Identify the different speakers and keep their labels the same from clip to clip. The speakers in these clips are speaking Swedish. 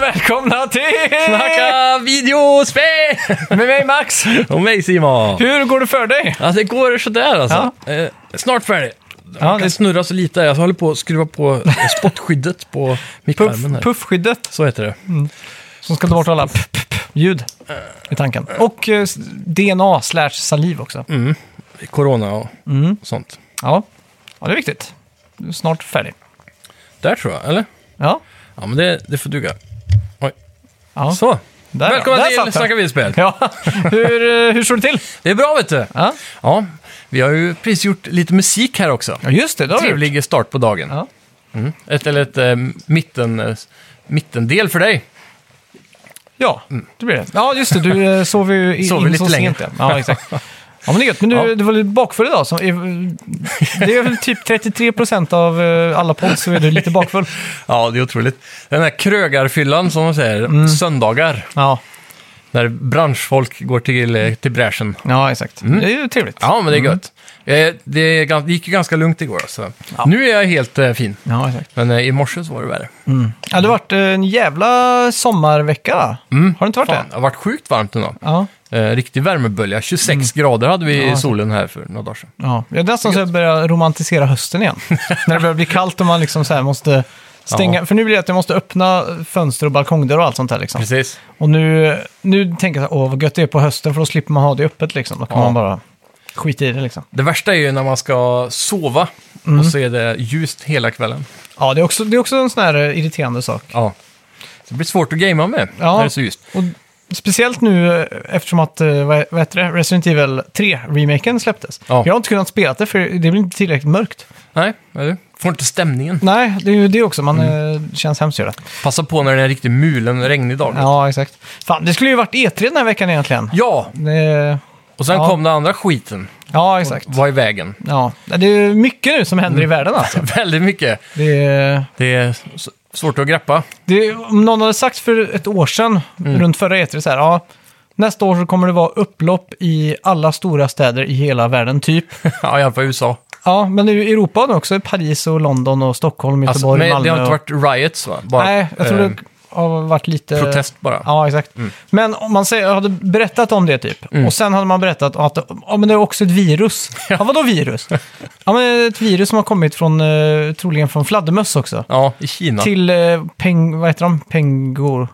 Speaker 1: Välkomna till
Speaker 2: Snacka videospel!
Speaker 1: med mig Max.
Speaker 2: Och mig Simon!
Speaker 1: Hur går det för dig?
Speaker 2: Alltså det går sådär alltså. Eh, snart färdig.
Speaker 1: Ja,
Speaker 2: Jag kan
Speaker 1: det
Speaker 2: snurra så lite här. Jag håller på att skruva på spottskyddet på mittskärmen
Speaker 1: puff,
Speaker 2: här.
Speaker 1: puffskyddet
Speaker 2: Så heter det.
Speaker 1: som ska ta bort alla p- p- p- ljud i tanken. Och eh, Mm. s- DNA slash saliv också.
Speaker 2: Corona och
Speaker 1: Mm.
Speaker 2: sånt.
Speaker 1: Ja. ja, det är viktigt. Du är snart färdig.
Speaker 2: Där tror jag, eller?
Speaker 1: Ja,
Speaker 2: Ja, men det, det får duga. Oj.
Speaker 1: Ja.
Speaker 2: Så.
Speaker 1: där ja.
Speaker 2: Välkomna
Speaker 1: Där satt
Speaker 2: till
Speaker 1: den.
Speaker 2: Snacka videospel.
Speaker 1: Ja, hur, eh, hur står det till?
Speaker 2: Det är bra vet du.
Speaker 1: Ja,
Speaker 2: Ja, vi har ju precis gjort lite musik här också.
Speaker 1: ja just det. det har vi gjort.
Speaker 2: Trevlig start på dagen.
Speaker 1: Ja.
Speaker 2: Mm. Ett, eller ett eh, mitten, eh, mittendel för dig.
Speaker 1: Ja, det blir det. Mm. Ja, just det. Du eh, sov ju i-
Speaker 2: Sov
Speaker 1: in
Speaker 2: lite
Speaker 1: så
Speaker 2: länge.
Speaker 1: sent. Ja, ja exakt. Ja, men det är gött. Men du,
Speaker 2: Ja.
Speaker 1: du var lite bakfull idag. Så, eh, det är väl typ 33 procent av eh, alla podd så är du lite bakfull.
Speaker 2: Ja, det är otroligt. Den här krögarfyllan som de säger,
Speaker 1: Mm.
Speaker 2: söndagar,
Speaker 1: Ja,
Speaker 2: när branschfolk går till, eh, till bräschen.
Speaker 1: ja exakt. Det är ju trevligt.
Speaker 2: Ja, men det är
Speaker 1: Mm.
Speaker 2: gött. Eh, Det är gan- gick ju ganska lugnt igår. Så. Nu är jag helt eh, fin,
Speaker 1: Ja, exakt.
Speaker 2: men eh, i morse så var det värre.
Speaker 1: Ja, det har varit en jävla sommarvecka. va? Har det inte varit
Speaker 2: Fan,
Speaker 1: det?
Speaker 2: det har varit sjukt varmt idag.
Speaker 1: Ja.
Speaker 2: Eh, riktig värmebölja. 26 grader hade vi i
Speaker 1: Mm. Ja.
Speaker 2: solen här för några dagar sedan.
Speaker 1: ja. Det är nästan så jag börjar romantisera hösten igen. När det börjar bli kallt och man liksom så här måste stänga. För nu blir det att jag måste öppna fönster och balkongdörrar och allt sånt här. Liksom.
Speaker 2: Precis.
Speaker 1: Och nu, nu tänker jag så här, åh vad gött det är på hösten för då slipper man ha det öppet liksom. Då kan
Speaker 2: Ja.
Speaker 1: man bara skita i det liksom.
Speaker 2: Det värsta är ju när man ska sova
Speaker 1: Mm.
Speaker 2: och så är det ljust hela kvällen.
Speaker 1: Ja, det är också, det är också en sån här eh, irriterande sak.
Speaker 2: Ja. Så det blir svårt att gamea med
Speaker 1: Ja.
Speaker 2: när det är så ljust.
Speaker 1: Och speciellt nu eh, eftersom att, eh, vad vad heter det, Resident Evil 3-remaken släpptes.
Speaker 2: Ja.
Speaker 1: Jag har inte kunnat spela det för det blir inte tillräckligt mörkt.
Speaker 2: Nej, eller? Får inte stämningen.
Speaker 1: Nej, det är ju det också. Man
Speaker 2: Mm.
Speaker 1: eh, känns hemskt gör det.
Speaker 2: Passa på när det är en riktigt mulen regnig dag. Ja,
Speaker 1: Ja, exakt. Fan, det skulle ju varit E3 den här veckan egentligen. Det,
Speaker 2: och sen
Speaker 1: Ja.
Speaker 2: kom den andra skiten.
Speaker 1: ja, exakt.
Speaker 2: Vad är vägen?
Speaker 1: Ja. Det är mycket nu som händer
Speaker 2: Mm.
Speaker 1: i världen alltså.
Speaker 2: Väldigt mycket.
Speaker 1: Det är,
Speaker 2: Det är s- svårt att greppa.
Speaker 1: det är, om någon hade sagt för ett år sedan,
Speaker 2: Mm.
Speaker 1: runt förra E3, så här, ja, nästa år så kommer det vara upplopp i alla stora städer i hela världen, typ.
Speaker 2: ja, i alla fall i USA.
Speaker 1: Ja, men nu i Europa har det också Paris och London och Stockholm,
Speaker 2: Alltså,
Speaker 1: Göteborg,
Speaker 2: men
Speaker 1: Malmö.
Speaker 2: det har inte
Speaker 1: och-
Speaker 2: varit riots va? Bara,
Speaker 1: Nej, jag tror
Speaker 2: eh,
Speaker 1: det har varit lite...
Speaker 2: Protest Mm. bara.
Speaker 1: Ja, exakt. Men om man säger, jag hade berättat om det typ,
Speaker 2: Mm.
Speaker 1: och sen hade man berättat att ja, men det är också ett virus. Ja, vadå virus? ja, men ett virus som har kommit från, eh, troligen från fladdermöss också.
Speaker 2: Ja, i Kina.
Speaker 1: Till eh, peng... Vad heter de? Pengor.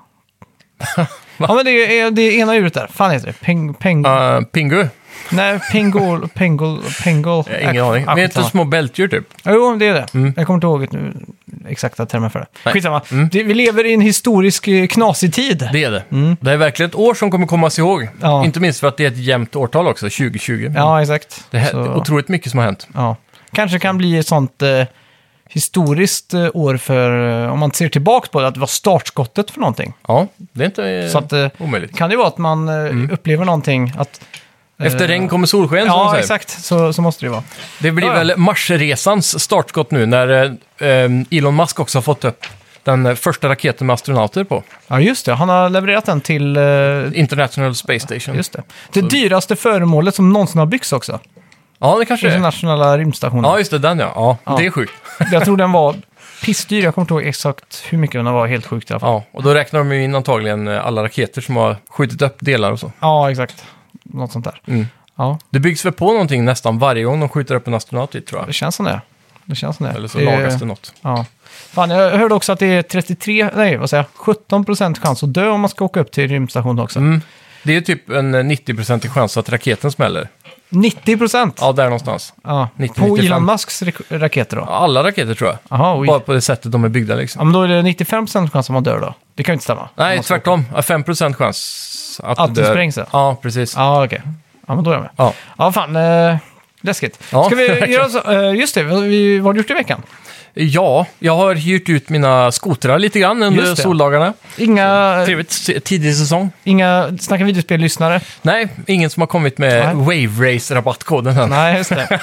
Speaker 1: ja, men det är eh, det är ena djuret där. fan heter det? Peng... peng
Speaker 2: Eh, pingu?
Speaker 1: Nej, pengol... Pengol... Pengol...
Speaker 2: Jag har Ingen
Speaker 1: Äh,
Speaker 2: aning.
Speaker 1: ja,
Speaker 2: Men det är
Speaker 1: skitsamma.
Speaker 2: inte små bältdjur typ?
Speaker 1: Jo, det är det. Jag kommer inte ihåg nu, exakta termer för det.
Speaker 2: Nej. Mm.
Speaker 1: Skitsamma. Det, vi lever i en historisk eh, knasig tid.
Speaker 2: Det är det. Det är verkligen ett år som kommer komma sig ihåg.
Speaker 1: Mm. Ja.
Speaker 2: Inte minst för att det är ett jämnt årtal också, 2020.
Speaker 1: Ja, exakt.
Speaker 2: Det, här,
Speaker 1: Så,
Speaker 2: det är otroligt mycket som har hänt.
Speaker 1: ja. Kanske kan bli ett sånt eh, historiskt eh, år för, eh, om man ser tillbaka på det, att det var startskottet för någonting.
Speaker 2: Ja, det är inte eh,
Speaker 1: Så att, eh,
Speaker 2: omöjligt.
Speaker 1: kan det vara att man eh, upplever någonting att... eh,
Speaker 2: Efter regn kommer solsken, som de
Speaker 1: Ja,
Speaker 2: säger.
Speaker 1: exakt. Så, så måste det ju vara.
Speaker 2: Det blir
Speaker 1: Ja, ja.
Speaker 2: väl Marsresans startskott nu när eh, eh, Elon Musk också har fått upp den eh, första raketen med astronauter på.
Speaker 1: Ja, just det. Han har levererat den till... Eh,
Speaker 2: International Space Station.
Speaker 1: just det. Det dyraste föremålet som någonsin har byggts också.
Speaker 2: Ja, det kanske det är.
Speaker 1: Internationella rymdstationen.
Speaker 2: Ja, just det. Den ja. Ja,
Speaker 1: Ja.
Speaker 2: det är sjukt.
Speaker 1: Jag tror den var pissdyr. Jag kommer inte ihåg exakt hur mycket den var. Helt sjukt i alla fall.
Speaker 2: Ja, och då räknar de ju in antagligen eh, alla raketer som har skjutit upp delar och så.
Speaker 1: Ja, exakt. Något sånt där.
Speaker 2: Mm.
Speaker 1: Ja,
Speaker 2: Det byggs väl på någonting nästan varje gång de skjuter upp en astronaut dit, tror
Speaker 1: det
Speaker 2: jag.
Speaker 1: känns som det. Det känns som det.
Speaker 2: Eller så
Speaker 1: det,
Speaker 2: lagas det något.
Speaker 1: Ja. Fan, jag hörde också att det är 33, nej vad säger jag, 17 procent chans att dö om man ska åka upp till rymdstationen också.
Speaker 2: Mm. Det är ju typ en eh, 90-procentig chans att raketen smäller.
Speaker 1: 90 procent!
Speaker 2: Ja, där någonstans.
Speaker 1: Ja.
Speaker 2: 90,
Speaker 1: På
Speaker 2: 95.
Speaker 1: Elon Musks rak- raketer då?
Speaker 2: Alla raketer tror jag.
Speaker 1: Jaha, oj.
Speaker 2: Bara på det sättet de är byggda liksom.
Speaker 1: Ja, men då är det 95 procent chans att man dör då? Det kan ju inte stämma.
Speaker 2: Nej,
Speaker 1: Man måste-
Speaker 2: tvärtom. Ja, 5% chans att,
Speaker 1: Att
Speaker 2: du
Speaker 1: det
Speaker 2: dör.
Speaker 1: sprängs, ja.
Speaker 2: Ja, precis. Ja.
Speaker 1: Ja, okej. Ja, men då är jag med. Ja, fan. Eh, läskigt.
Speaker 2: Ja,
Speaker 1: ska vi
Speaker 2: verkligen.
Speaker 1: göra så, eh, just det, vi, vad har du gjort i veckan?
Speaker 2: ja, jag har hyrt ut mina skotrar lite grann under
Speaker 1: Just det.
Speaker 2: soldagarna.
Speaker 1: Inga,
Speaker 2: Trevligt. Se- Tidig säsong.
Speaker 1: inga snacka videospel-lyssnare.
Speaker 2: Nej, ingen som har kommit med Wave Race-rabattkoden än.
Speaker 1: Nej, just det.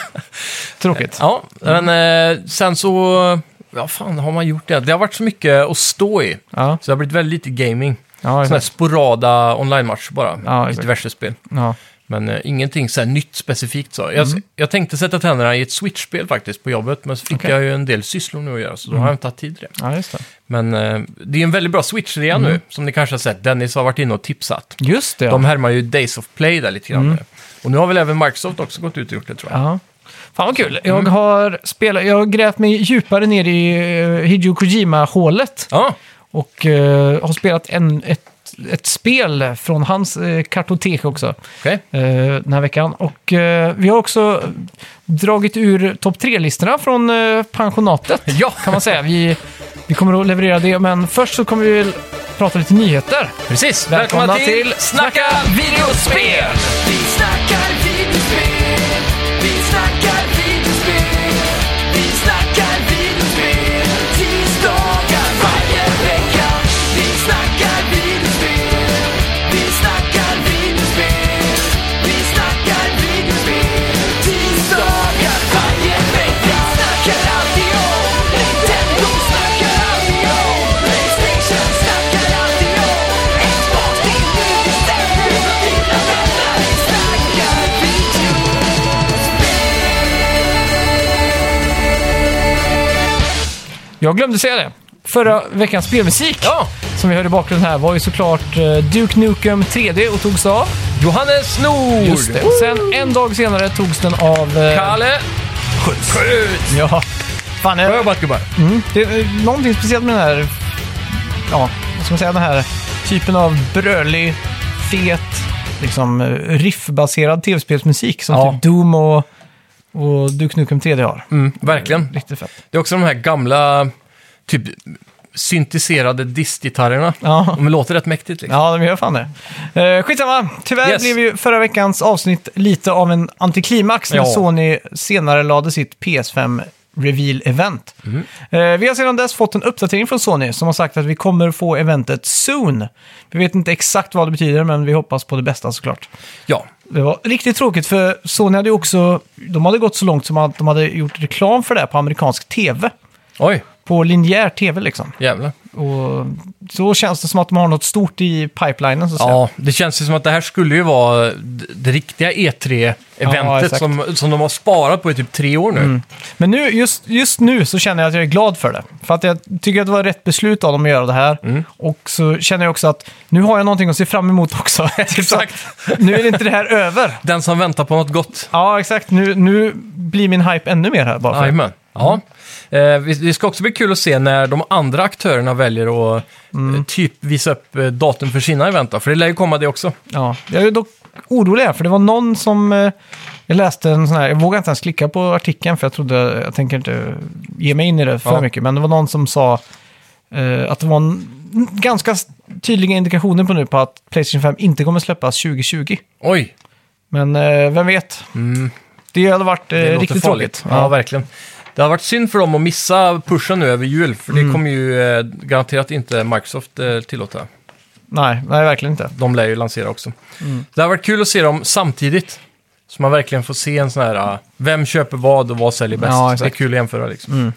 Speaker 1: Tråkigt.
Speaker 2: Ja, men eh, sen så... Ja, fan har man gjort det? Det har varit så mycket att stå i.
Speaker 1: Ja,
Speaker 2: Så det har blivit väldigt lite gaming.
Speaker 1: ja,
Speaker 2: Sådana här
Speaker 1: exakt.
Speaker 2: sporada online-matcher bara.
Speaker 1: Ja,
Speaker 2: i
Speaker 1: exakt.
Speaker 2: diverse spel.
Speaker 1: ja.
Speaker 2: Men eh, ingenting så här nytt specifikt så. Jag, jag tänkte sätta tänderna i ett Switch-spel faktiskt på jobbet, men så fick
Speaker 1: Okej.
Speaker 2: jag ju en del sysslor nu att göra, så då har jag inte haft tid till det.
Speaker 1: Ja, just det.
Speaker 2: Men eh, det är en väldigt bra Switch-rea nu, som ni kanske har sett. Dennis har varit inne och tipsat.
Speaker 1: Just det, ja.
Speaker 2: De härmar ju Days of Play där lite grann. Och nu har väl även Microsoft också gått ut och gjort det tror jag.
Speaker 1: Ja. Fan vad kul. Jag
Speaker 2: Mm.
Speaker 1: har spelat, jag har grävt mig djupare ner i eh, Hideo Kojima-hålet.
Speaker 2: Ja,
Speaker 1: Och eh, har spelat en, ett, ett spel från hans eh, kartotek också
Speaker 2: okej.
Speaker 1: eh, den här veckan. Och eh, vi har också dragit ur topp tre-listorna från eh, pensionatet
Speaker 2: Ja,
Speaker 1: kan man säga. Vi, vi kommer att leverera det, men först så kommer vi väl prata lite nyheter.
Speaker 2: precis.
Speaker 1: Välkomna
Speaker 2: Välkomna,
Speaker 1: till
Speaker 2: till, Snacka videospel!
Speaker 3: Vi snackar videospel, vi snackar videospel, vi snackar videospel, tisdagar varje vecka. Vi snackar videospel, vi snackar videospel, vi snackar videospel, tisdagar varje vecka. Snackar alltid om Nintendo, snackar alltid om Playstation, snackar alltid om Xbox, det är nu det stämmer. Dina vänner, vi snackar video.
Speaker 1: Jag glömde säga det. Förra veckans spelmusik
Speaker 2: Ja,
Speaker 1: som vi hörde i bakgrunden här var ju såklart eh, Duke Nukem 3D och togs av.
Speaker 2: Johannes Nord!
Speaker 1: Just det. Och sen en dag senare togs den av... eh,
Speaker 2: Kalle Schultz. Schultz.
Speaker 1: Ja. Fan, jag,
Speaker 2: Bra jobbat gubbar.
Speaker 1: Det är eh, någonting speciellt med den här... Ja, vad ska man säga? Den här typen av brölig, fet, liksom eh, riffbaserad tv-spelsmusik som
Speaker 2: Ja.
Speaker 1: typ Doom och, och Duke Nukem 3D har.
Speaker 2: Mm, verkligen.
Speaker 1: Riktigt fett.
Speaker 2: Det är också de här gamla, typ syntiserade distgitarrerna.
Speaker 1: Ja.
Speaker 2: De låter rätt mäktigt liksom.
Speaker 1: Ja, de gör fan det. Eh, skitsamma, tyvärr
Speaker 2: Yes.
Speaker 1: blev ju förra veckans avsnitt lite av en antiklimax när
Speaker 2: Ja.
Speaker 1: Sony senare lade sitt PS5 Reveal-event.
Speaker 2: Mhm.
Speaker 1: Eh, vi har sedan dess fått en uppdatering från Sony som har sagt att vi kommer få eventet soon. Vi vet inte exakt vad det betyder, men vi hoppas på det bästa såklart.
Speaker 2: Ja,
Speaker 1: Det var riktigt tråkigt för Sony hade ju också, de hade gått så långt som att de hade gjort reklam för det här på amerikansk tv.
Speaker 2: oj,
Speaker 1: På linjär tv liksom.
Speaker 2: jävlar.
Speaker 1: Och så känns det som att de har något stort i pipelinen så att säga.
Speaker 2: Ja, det känns ju som att det här skulle ju vara d- det riktiga
Speaker 1: Ja,
Speaker 2: E3-eventet
Speaker 1: exakt. Mm.
Speaker 2: som, som de har sparat på i typ tre år nu.
Speaker 1: Men nu, just, just nu så känner jag att jag är glad för det. För att jag tycker att det var rätt beslut av dem att göra det här.
Speaker 2: Mm.
Speaker 1: Och så känner jag också att nu har jag någonting att se fram emot också. Typ så
Speaker 2: Exakt.
Speaker 1: att Nu är det inte det här över.
Speaker 2: Den som väntar på något gott.
Speaker 1: Ja, exakt. Nu, nu blir min hype ännu mer här bara. För.
Speaker 2: Jajamän. Ja.
Speaker 1: Mm.
Speaker 2: Eh, vi- Det ska också bli kul att se när de andra aktörerna väljer att eh,
Speaker 1: Mm.
Speaker 2: typ visa upp eh, datum för sina event. då, För det lär ju komma det också.
Speaker 1: Ja. Jag är dock orolig här, för det var någon som... eh, Jag läste en sån här... Jag vågar inte ens klicka på artikeln, för jag trodde... Jag tänker inte ge mig in i det för
Speaker 2: Ja.
Speaker 1: mycket. Men det var någon som sa eh, att det var en, ganska s- tydliga indikationer på nu på att Playstation 5 inte kommer släppas 2020.
Speaker 2: Oj,
Speaker 1: Men eh, vem vet? Det hade varit eh,
Speaker 2: det låter
Speaker 1: riktigt
Speaker 2: farligt.
Speaker 1: tråkigt.
Speaker 2: Ja. verkligen. Det har varit synd för dem att missa pushen nu över jul, för det kommer ju eh, garanterat inte Microsoft eh, tillåta.
Speaker 1: Nej, nej, verkligen inte.
Speaker 2: De lär ju lansera också. Det har varit kul att se dem samtidigt. Så man verkligen får se en sån här, ah, vem köper vad och vad säljer bäst.
Speaker 1: Ja,
Speaker 2: så det är
Speaker 1: exakt.
Speaker 2: kul att jämföra liksom.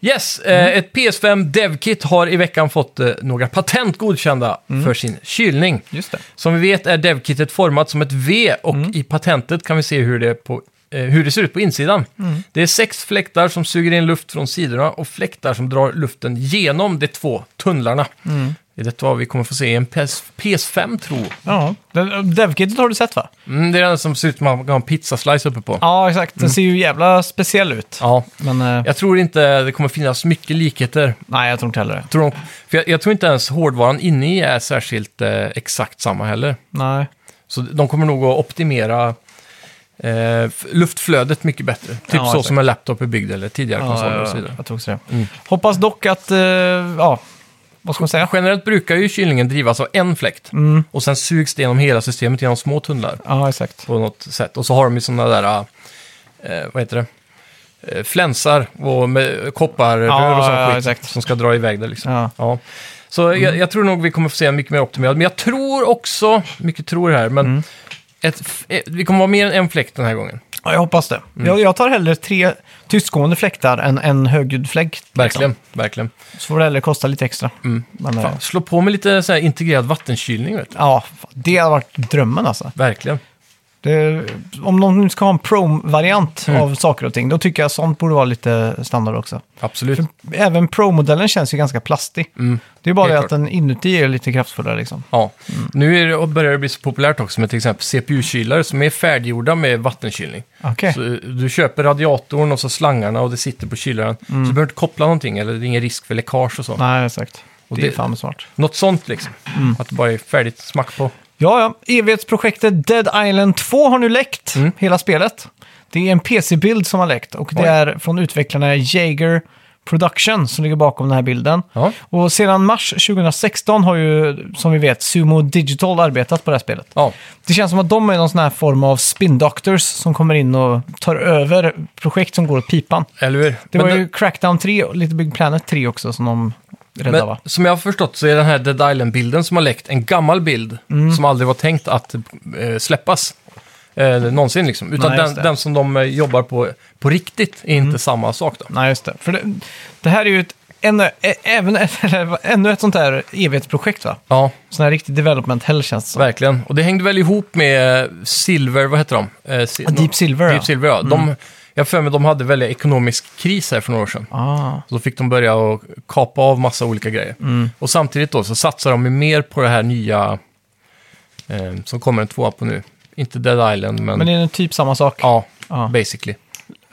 Speaker 2: Yes, eh, ett PS5 DevKit har i veckan fått eh, några patent godkända för sin kylning.
Speaker 1: Just det.
Speaker 2: Som vi vet är DevKitet format som ett V och i patentet kan vi se hur det, är på, eh, hur det ser ut på insidan. Det är sex fläktar som suger in luft från sidorna och fläktar som drar luften genom de två tunnlarna. Det är vad vi kommer få se i en PS, PS5 tror
Speaker 1: Ja. Den- Devkitet har du sett va?
Speaker 2: mm, Det är den som ser ut som att man har en pizzaslice uppe på.
Speaker 1: Ja, exakt. Den ser ju jävla speciell ut.
Speaker 2: Ja.
Speaker 1: Mm. Men eh,
Speaker 2: Jag tror inte det kommer finnas mycket likheter.
Speaker 1: nej, jag tror inte heller det.
Speaker 2: Tror de, för jag, jag tror inte ens hårdvaran inne i är särskilt eh, exakt samma heller.
Speaker 1: Nej.
Speaker 2: Så de kommer nog att optimera eh, f- luftflödet mycket bättre. Typ
Speaker 1: Ja,
Speaker 2: så
Speaker 1: exakt.
Speaker 2: som en laptop är byggd eller tidigare
Speaker 1: Ja,
Speaker 2: konsoler
Speaker 1: ja,
Speaker 2: och så vidare. Mm.
Speaker 1: jag tror också det. Hoppas dock att, eh, ja, vad ska man säga?
Speaker 2: Generellt brukar ju kylningen drivas av en fläkt
Speaker 1: Mm.
Speaker 2: och sen sugs det genom hela systemet genom små tunnlar
Speaker 1: Ja, exakt.
Speaker 2: på något sätt. Och så har de ju sådana där, eh, vad heter det, eh, flänsar och med kopparrör
Speaker 1: Ja,
Speaker 2: och sånt
Speaker 1: ja,
Speaker 2: skit
Speaker 1: exakt.
Speaker 2: som ska dra iväg det liksom.
Speaker 1: Ja. Mm.
Speaker 2: Ja. Så jag, jag tror nog vi kommer få se en mycket mer optimerad. Men jag tror också, mycket tror här, men
Speaker 1: Mm.
Speaker 2: ett, f- eh, vi kommer ha mer än en fläkt den här gången.
Speaker 1: ja, jag hoppas det.
Speaker 2: Mm.
Speaker 1: Jag, jag tar hellre tre tystgående fläktar än en högljudd fläkt. liksom.
Speaker 2: Verkligen, verkligen.
Speaker 1: Så får det hellre kosta lite extra. Men, eh,
Speaker 2: Mm. Fan, slå på med lite så här integrerad vattenkylning, vet du.
Speaker 1: ja, fan, det hade varit drömmen alltså.
Speaker 2: Verkligen.
Speaker 1: Det, om någon nu ska ha en Pro-variant
Speaker 2: Mm.
Speaker 1: av saker och ting, då tycker jag sånt borde vara lite standard också.
Speaker 2: Absolut.
Speaker 1: För även Pro-modellen känns ju ganska plastig. Det är bara
Speaker 2: Mm. Helt
Speaker 1: det att
Speaker 2: klart.
Speaker 1: den inuti är lite kraftfullare liksom.
Speaker 2: Ja. Nu är det, och börjar det bli så populärt också med till exempel CPU-kylare som är färdiggjorda med vattenkylning.
Speaker 1: Okej.
Speaker 2: Så eh, du köper radiatorn och så slangarna och det sitter på kylaren. Så du behöver inte koppla någonting eller det är ingen risk för läckage och så.
Speaker 1: Mm. Nej, Mm. exakt.
Speaker 2: Och
Speaker 1: det, är
Speaker 2: det-
Speaker 1: fan smart.
Speaker 2: Något sånt liksom. Att det bara är färdigt smack på.
Speaker 1: Ja, ja. Evighetsprojektet Dead Island 2 har nu läckt hela spelet. Det är en PC-bild som har läckt och det
Speaker 2: Mm. Oj.
Speaker 1: är från utvecklarna Jaeger Production som ligger bakom den här bilden.
Speaker 2: Ja.
Speaker 1: Och sedan mars 2016 har ju, som vi vet, Sumo Digital arbetat på det här spelet.
Speaker 2: Ja.
Speaker 1: Det känns som att de är någon sån här form av spin doctors som kommer in och tar över projekt som går åt pipan.
Speaker 2: Eller hur?
Speaker 1: Det
Speaker 2: Men
Speaker 1: var ju Crackdown 3 och Little Big Planet 3 också som de räddade
Speaker 2: Men
Speaker 1: va?
Speaker 2: som jag har förstått så är den här Dead Island-bilden som har läckt en gammal bild
Speaker 1: Mm.
Speaker 2: som aldrig var tänkt att eh, släppas. Eh, någonsin liksom. Utan
Speaker 1: Nej, just
Speaker 2: den,
Speaker 1: det. Mm.
Speaker 2: den som de eh, jobbar på på riktigt är inte samma sak då.
Speaker 1: Nej, just det. För det, det här är ju ett, ännu, ä, även, eller, ännu ett sånt här evighetsprojekt va?
Speaker 2: Ja,
Speaker 1: Sån här riktig development hell känns det som.
Speaker 2: verkligen. Och det hängde väl ihop med eh, Silver, vad heter de? Eh, si-
Speaker 1: Ja, Deep Silver, ja. Mm.
Speaker 2: Deep Silver, ja. De, jag har för mig de hade väl ekonomisk kris här för några år sedan.
Speaker 1: Ah,
Speaker 2: Så då fick de börja och kapa av massa olika grejer.
Speaker 1: Mm.
Speaker 2: Och samtidigt då så satsar de ju mer på det här nya eh, som kommer en tvåa på nu. Inte Dead Island, men...
Speaker 1: men det är ju typ samma sak.
Speaker 2: Ja,
Speaker 1: Ja.
Speaker 2: basically.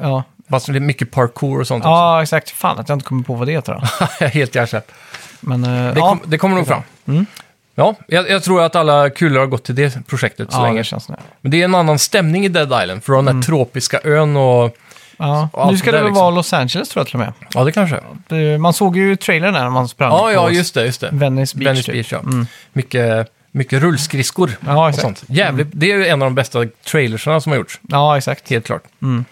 Speaker 1: Ja.
Speaker 2: Fast det är mycket parkour och sånt också.
Speaker 1: Ja, exakt. Fan att jag inte kommer på vad det heter. då.
Speaker 2: Helt hjärtsläpp.
Speaker 1: Men eh,
Speaker 2: Det,
Speaker 1: ja, Mm.
Speaker 2: kom, det kommer nog fram. Ja, jag, jag tror att alla kulor har gått till det projektet så
Speaker 1: ja,
Speaker 2: länge.
Speaker 1: det Mm. känns det.
Speaker 2: Men det är en annan stämning i Dead Island, för du har den här tropiska ön och... Och
Speaker 1: Ja.
Speaker 2: allt
Speaker 1: Nu ska
Speaker 2: det
Speaker 1: det
Speaker 2: där
Speaker 1: väl
Speaker 2: liksom.
Speaker 1: vara Los Angeles tror jag till och med.
Speaker 2: Ja, det kanske är.
Speaker 1: Det- Man såg ju trailern där när man sprang
Speaker 2: Ja,
Speaker 1: på
Speaker 2: ja, just det, just det.
Speaker 1: Venice Beach.
Speaker 2: Venice
Speaker 1: typ.
Speaker 2: Beach, ja. Mycket, mycket rullskridskor
Speaker 1: Ja,
Speaker 2: och
Speaker 1: exakt. Mm.
Speaker 2: sånt. Jävligt, Det är ju en av de bästa trailersarna som har gjorts.
Speaker 1: Ja, exakt.
Speaker 2: Helt klart.
Speaker 1: Mm.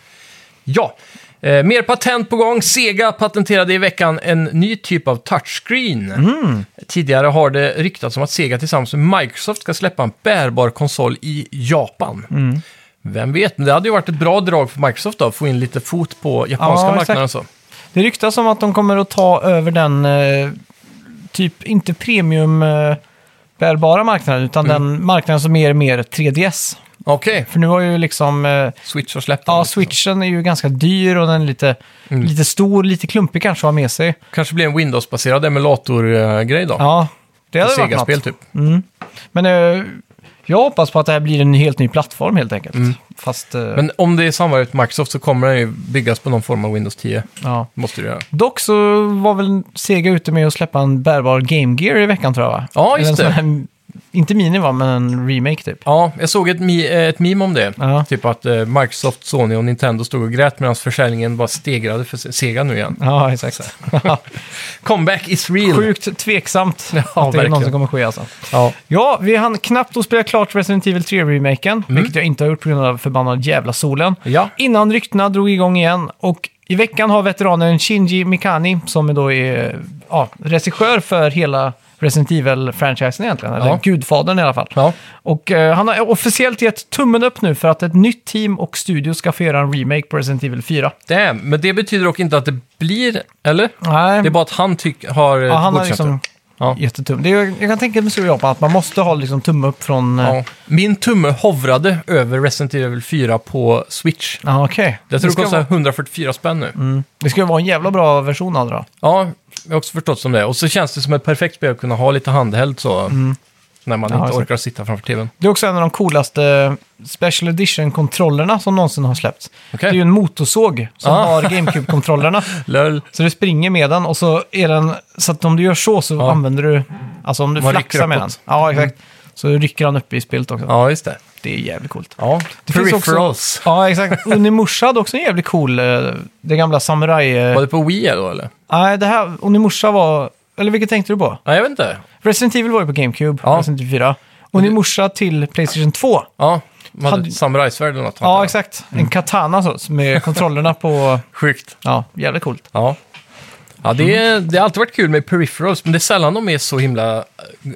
Speaker 2: Ja, eh, mer patent på gång. Sega patenterade i veckan en ny typ av touchscreen.
Speaker 1: Mm.
Speaker 2: Tidigare har det ryktats om att Sega tillsammans med Microsoft ska släppa en bärbar konsol i Japan.
Speaker 1: Mm.
Speaker 2: Vem vet, men det hade ju varit ett bra drag för Microsoft då, att få in lite fot på japanska
Speaker 1: Ja, exakt.
Speaker 2: marknaden och så.
Speaker 1: Det ryktas om att de kommer att ta över den, eh, typ inte premium eh, bärbara marknaden, utan
Speaker 2: Mm.
Speaker 1: den marknaden som är mer 3DS.
Speaker 2: Okej,
Speaker 1: För nu har ju liksom, eh,
Speaker 2: Switch har släppt den.
Speaker 1: ja, switchen är ju ganska dyr och den är lite,
Speaker 2: Mm.
Speaker 1: lite stor, lite klumpig kanske att ha med sig.
Speaker 2: Kanske blir en Windows-baserad emulator-grej då.
Speaker 1: Ja, det
Speaker 2: För
Speaker 1: hade varit
Speaker 2: Sega-spel
Speaker 1: något.
Speaker 2: typ.
Speaker 1: Men eh, jag hoppas på att det här blir en helt ny plattform helt enkelt. Fast, eh,
Speaker 2: Mm. Men om det är samarbete med Microsoft så kommer den ju byggas på någon form av Windows 10.
Speaker 1: ja.
Speaker 2: Måste du göra.
Speaker 1: Dock så var väl Sega ute med att släppa en bärbar Game Gear i veckan tror jag va?
Speaker 2: Ja, just
Speaker 1: Eller en
Speaker 2: det.
Speaker 1: sån här, inte mini va, men en remake typ.
Speaker 2: Ja, jag såg ett, mi- eh, ett meme om det.
Speaker 1: Ja.
Speaker 2: Typ att eh, Microsoft, Sony och Nintendo stod och grät medan försäljningen bara stegrade för Se- Sega nu igen.
Speaker 1: Ja, exakt.
Speaker 2: Comeback is real!
Speaker 1: Sjukt tveksamt att det är någon
Speaker 2: verkligen.
Speaker 1: som kommer ske alltså.
Speaker 2: Ja.
Speaker 1: Ja, vi hann knappt att spela klart Resident Evil 3-remaken, vilket jag inte har gjort på grund av förbannad jävla solen.
Speaker 2: Ja.
Speaker 1: Innan ryktena drog igång igen och i veckan har veteranen Shinji Mikami, som då är ja, regissör för hela Resident Evil-franchisen egentligen, eller
Speaker 2: Ja.
Speaker 1: gudfadern i alla fall.
Speaker 2: Ja.
Speaker 1: Och eh, han har officiellt gett tummen upp nu för att ett nytt team och studio ska få göra en remake på Resident Evil 4.
Speaker 2: Damn. Men det betyder dock inte att det blir, eller?
Speaker 1: Nej,
Speaker 2: Det är bara att han tyck- har eh,
Speaker 1: Ja, han har
Speaker 2: godkänt det.
Speaker 1: liksom
Speaker 2: Ja.
Speaker 1: jättetum. Det är, jag kan tänka mig så i Japan att man måste ha liksom tumme upp från... eh,
Speaker 2: Ja. Min tumme hovrade över Resident Evil 4 på Switch.
Speaker 1: Ja, okej.
Speaker 2: Jag tror det,
Speaker 1: ska
Speaker 2: kostar
Speaker 1: vara,
Speaker 2: 144 spänn nu.
Speaker 1: det ska ju vara en jävla bra version av det då.
Speaker 2: Ja, jag har också förstått som det. Och så känns det som ett perfekt spel att kunna ha lite handhält så. När man
Speaker 1: Mm. Ja,
Speaker 2: inte
Speaker 1: exakt.
Speaker 2: orkar sitta framför tvn.
Speaker 1: Det är också en av de coolaste eh, Special Edition-kontrollerna som någonsin har släppts.
Speaker 2: Okej.
Speaker 1: Det är ju en motorsåg som
Speaker 2: Ah.
Speaker 1: har GameCube-kontrollerna.
Speaker 2: Löl.
Speaker 1: Så du springer med den och så är den... Så att om du gör så så
Speaker 2: Ja.
Speaker 1: använder du... Alltså om du
Speaker 2: Man
Speaker 1: flaxar
Speaker 2: rycker
Speaker 1: med den.
Speaker 2: uppåt. Mm.
Speaker 1: Ja, exakt. Så rycker han upp i spelet också.
Speaker 2: Ja, just det.
Speaker 1: Det är jävligt coolt.
Speaker 2: Ja.
Speaker 1: Det finns också-
Speaker 2: Peripherals.
Speaker 1: Ja, exakt. Unimusha hade också en jävligt cool... eh, Det gamla samurai... eh,
Speaker 2: Var det på Wii då eller?
Speaker 1: Nej, det här, Onimusha var... Eller vilket tänkte du på?
Speaker 2: Nej, jag vet inte.
Speaker 1: Resident Evil var ju på GameCube,
Speaker 2: Ja.
Speaker 1: Resident Evil 4. Onimusha till Playstation 2.
Speaker 2: Ja, man hade
Speaker 1: Hade-
Speaker 2: ett samurajsvärd eller något. antar
Speaker 1: Ja,
Speaker 2: jag.
Speaker 1: exakt. En katana så, med kontrollerna på...
Speaker 2: Sjukt.
Speaker 1: Ja, jävligt coolt.
Speaker 2: Ja. Ja, det, är,
Speaker 1: Mm.
Speaker 2: det har alltid varit kul med peripherals, men det är sällan de är så himla eh,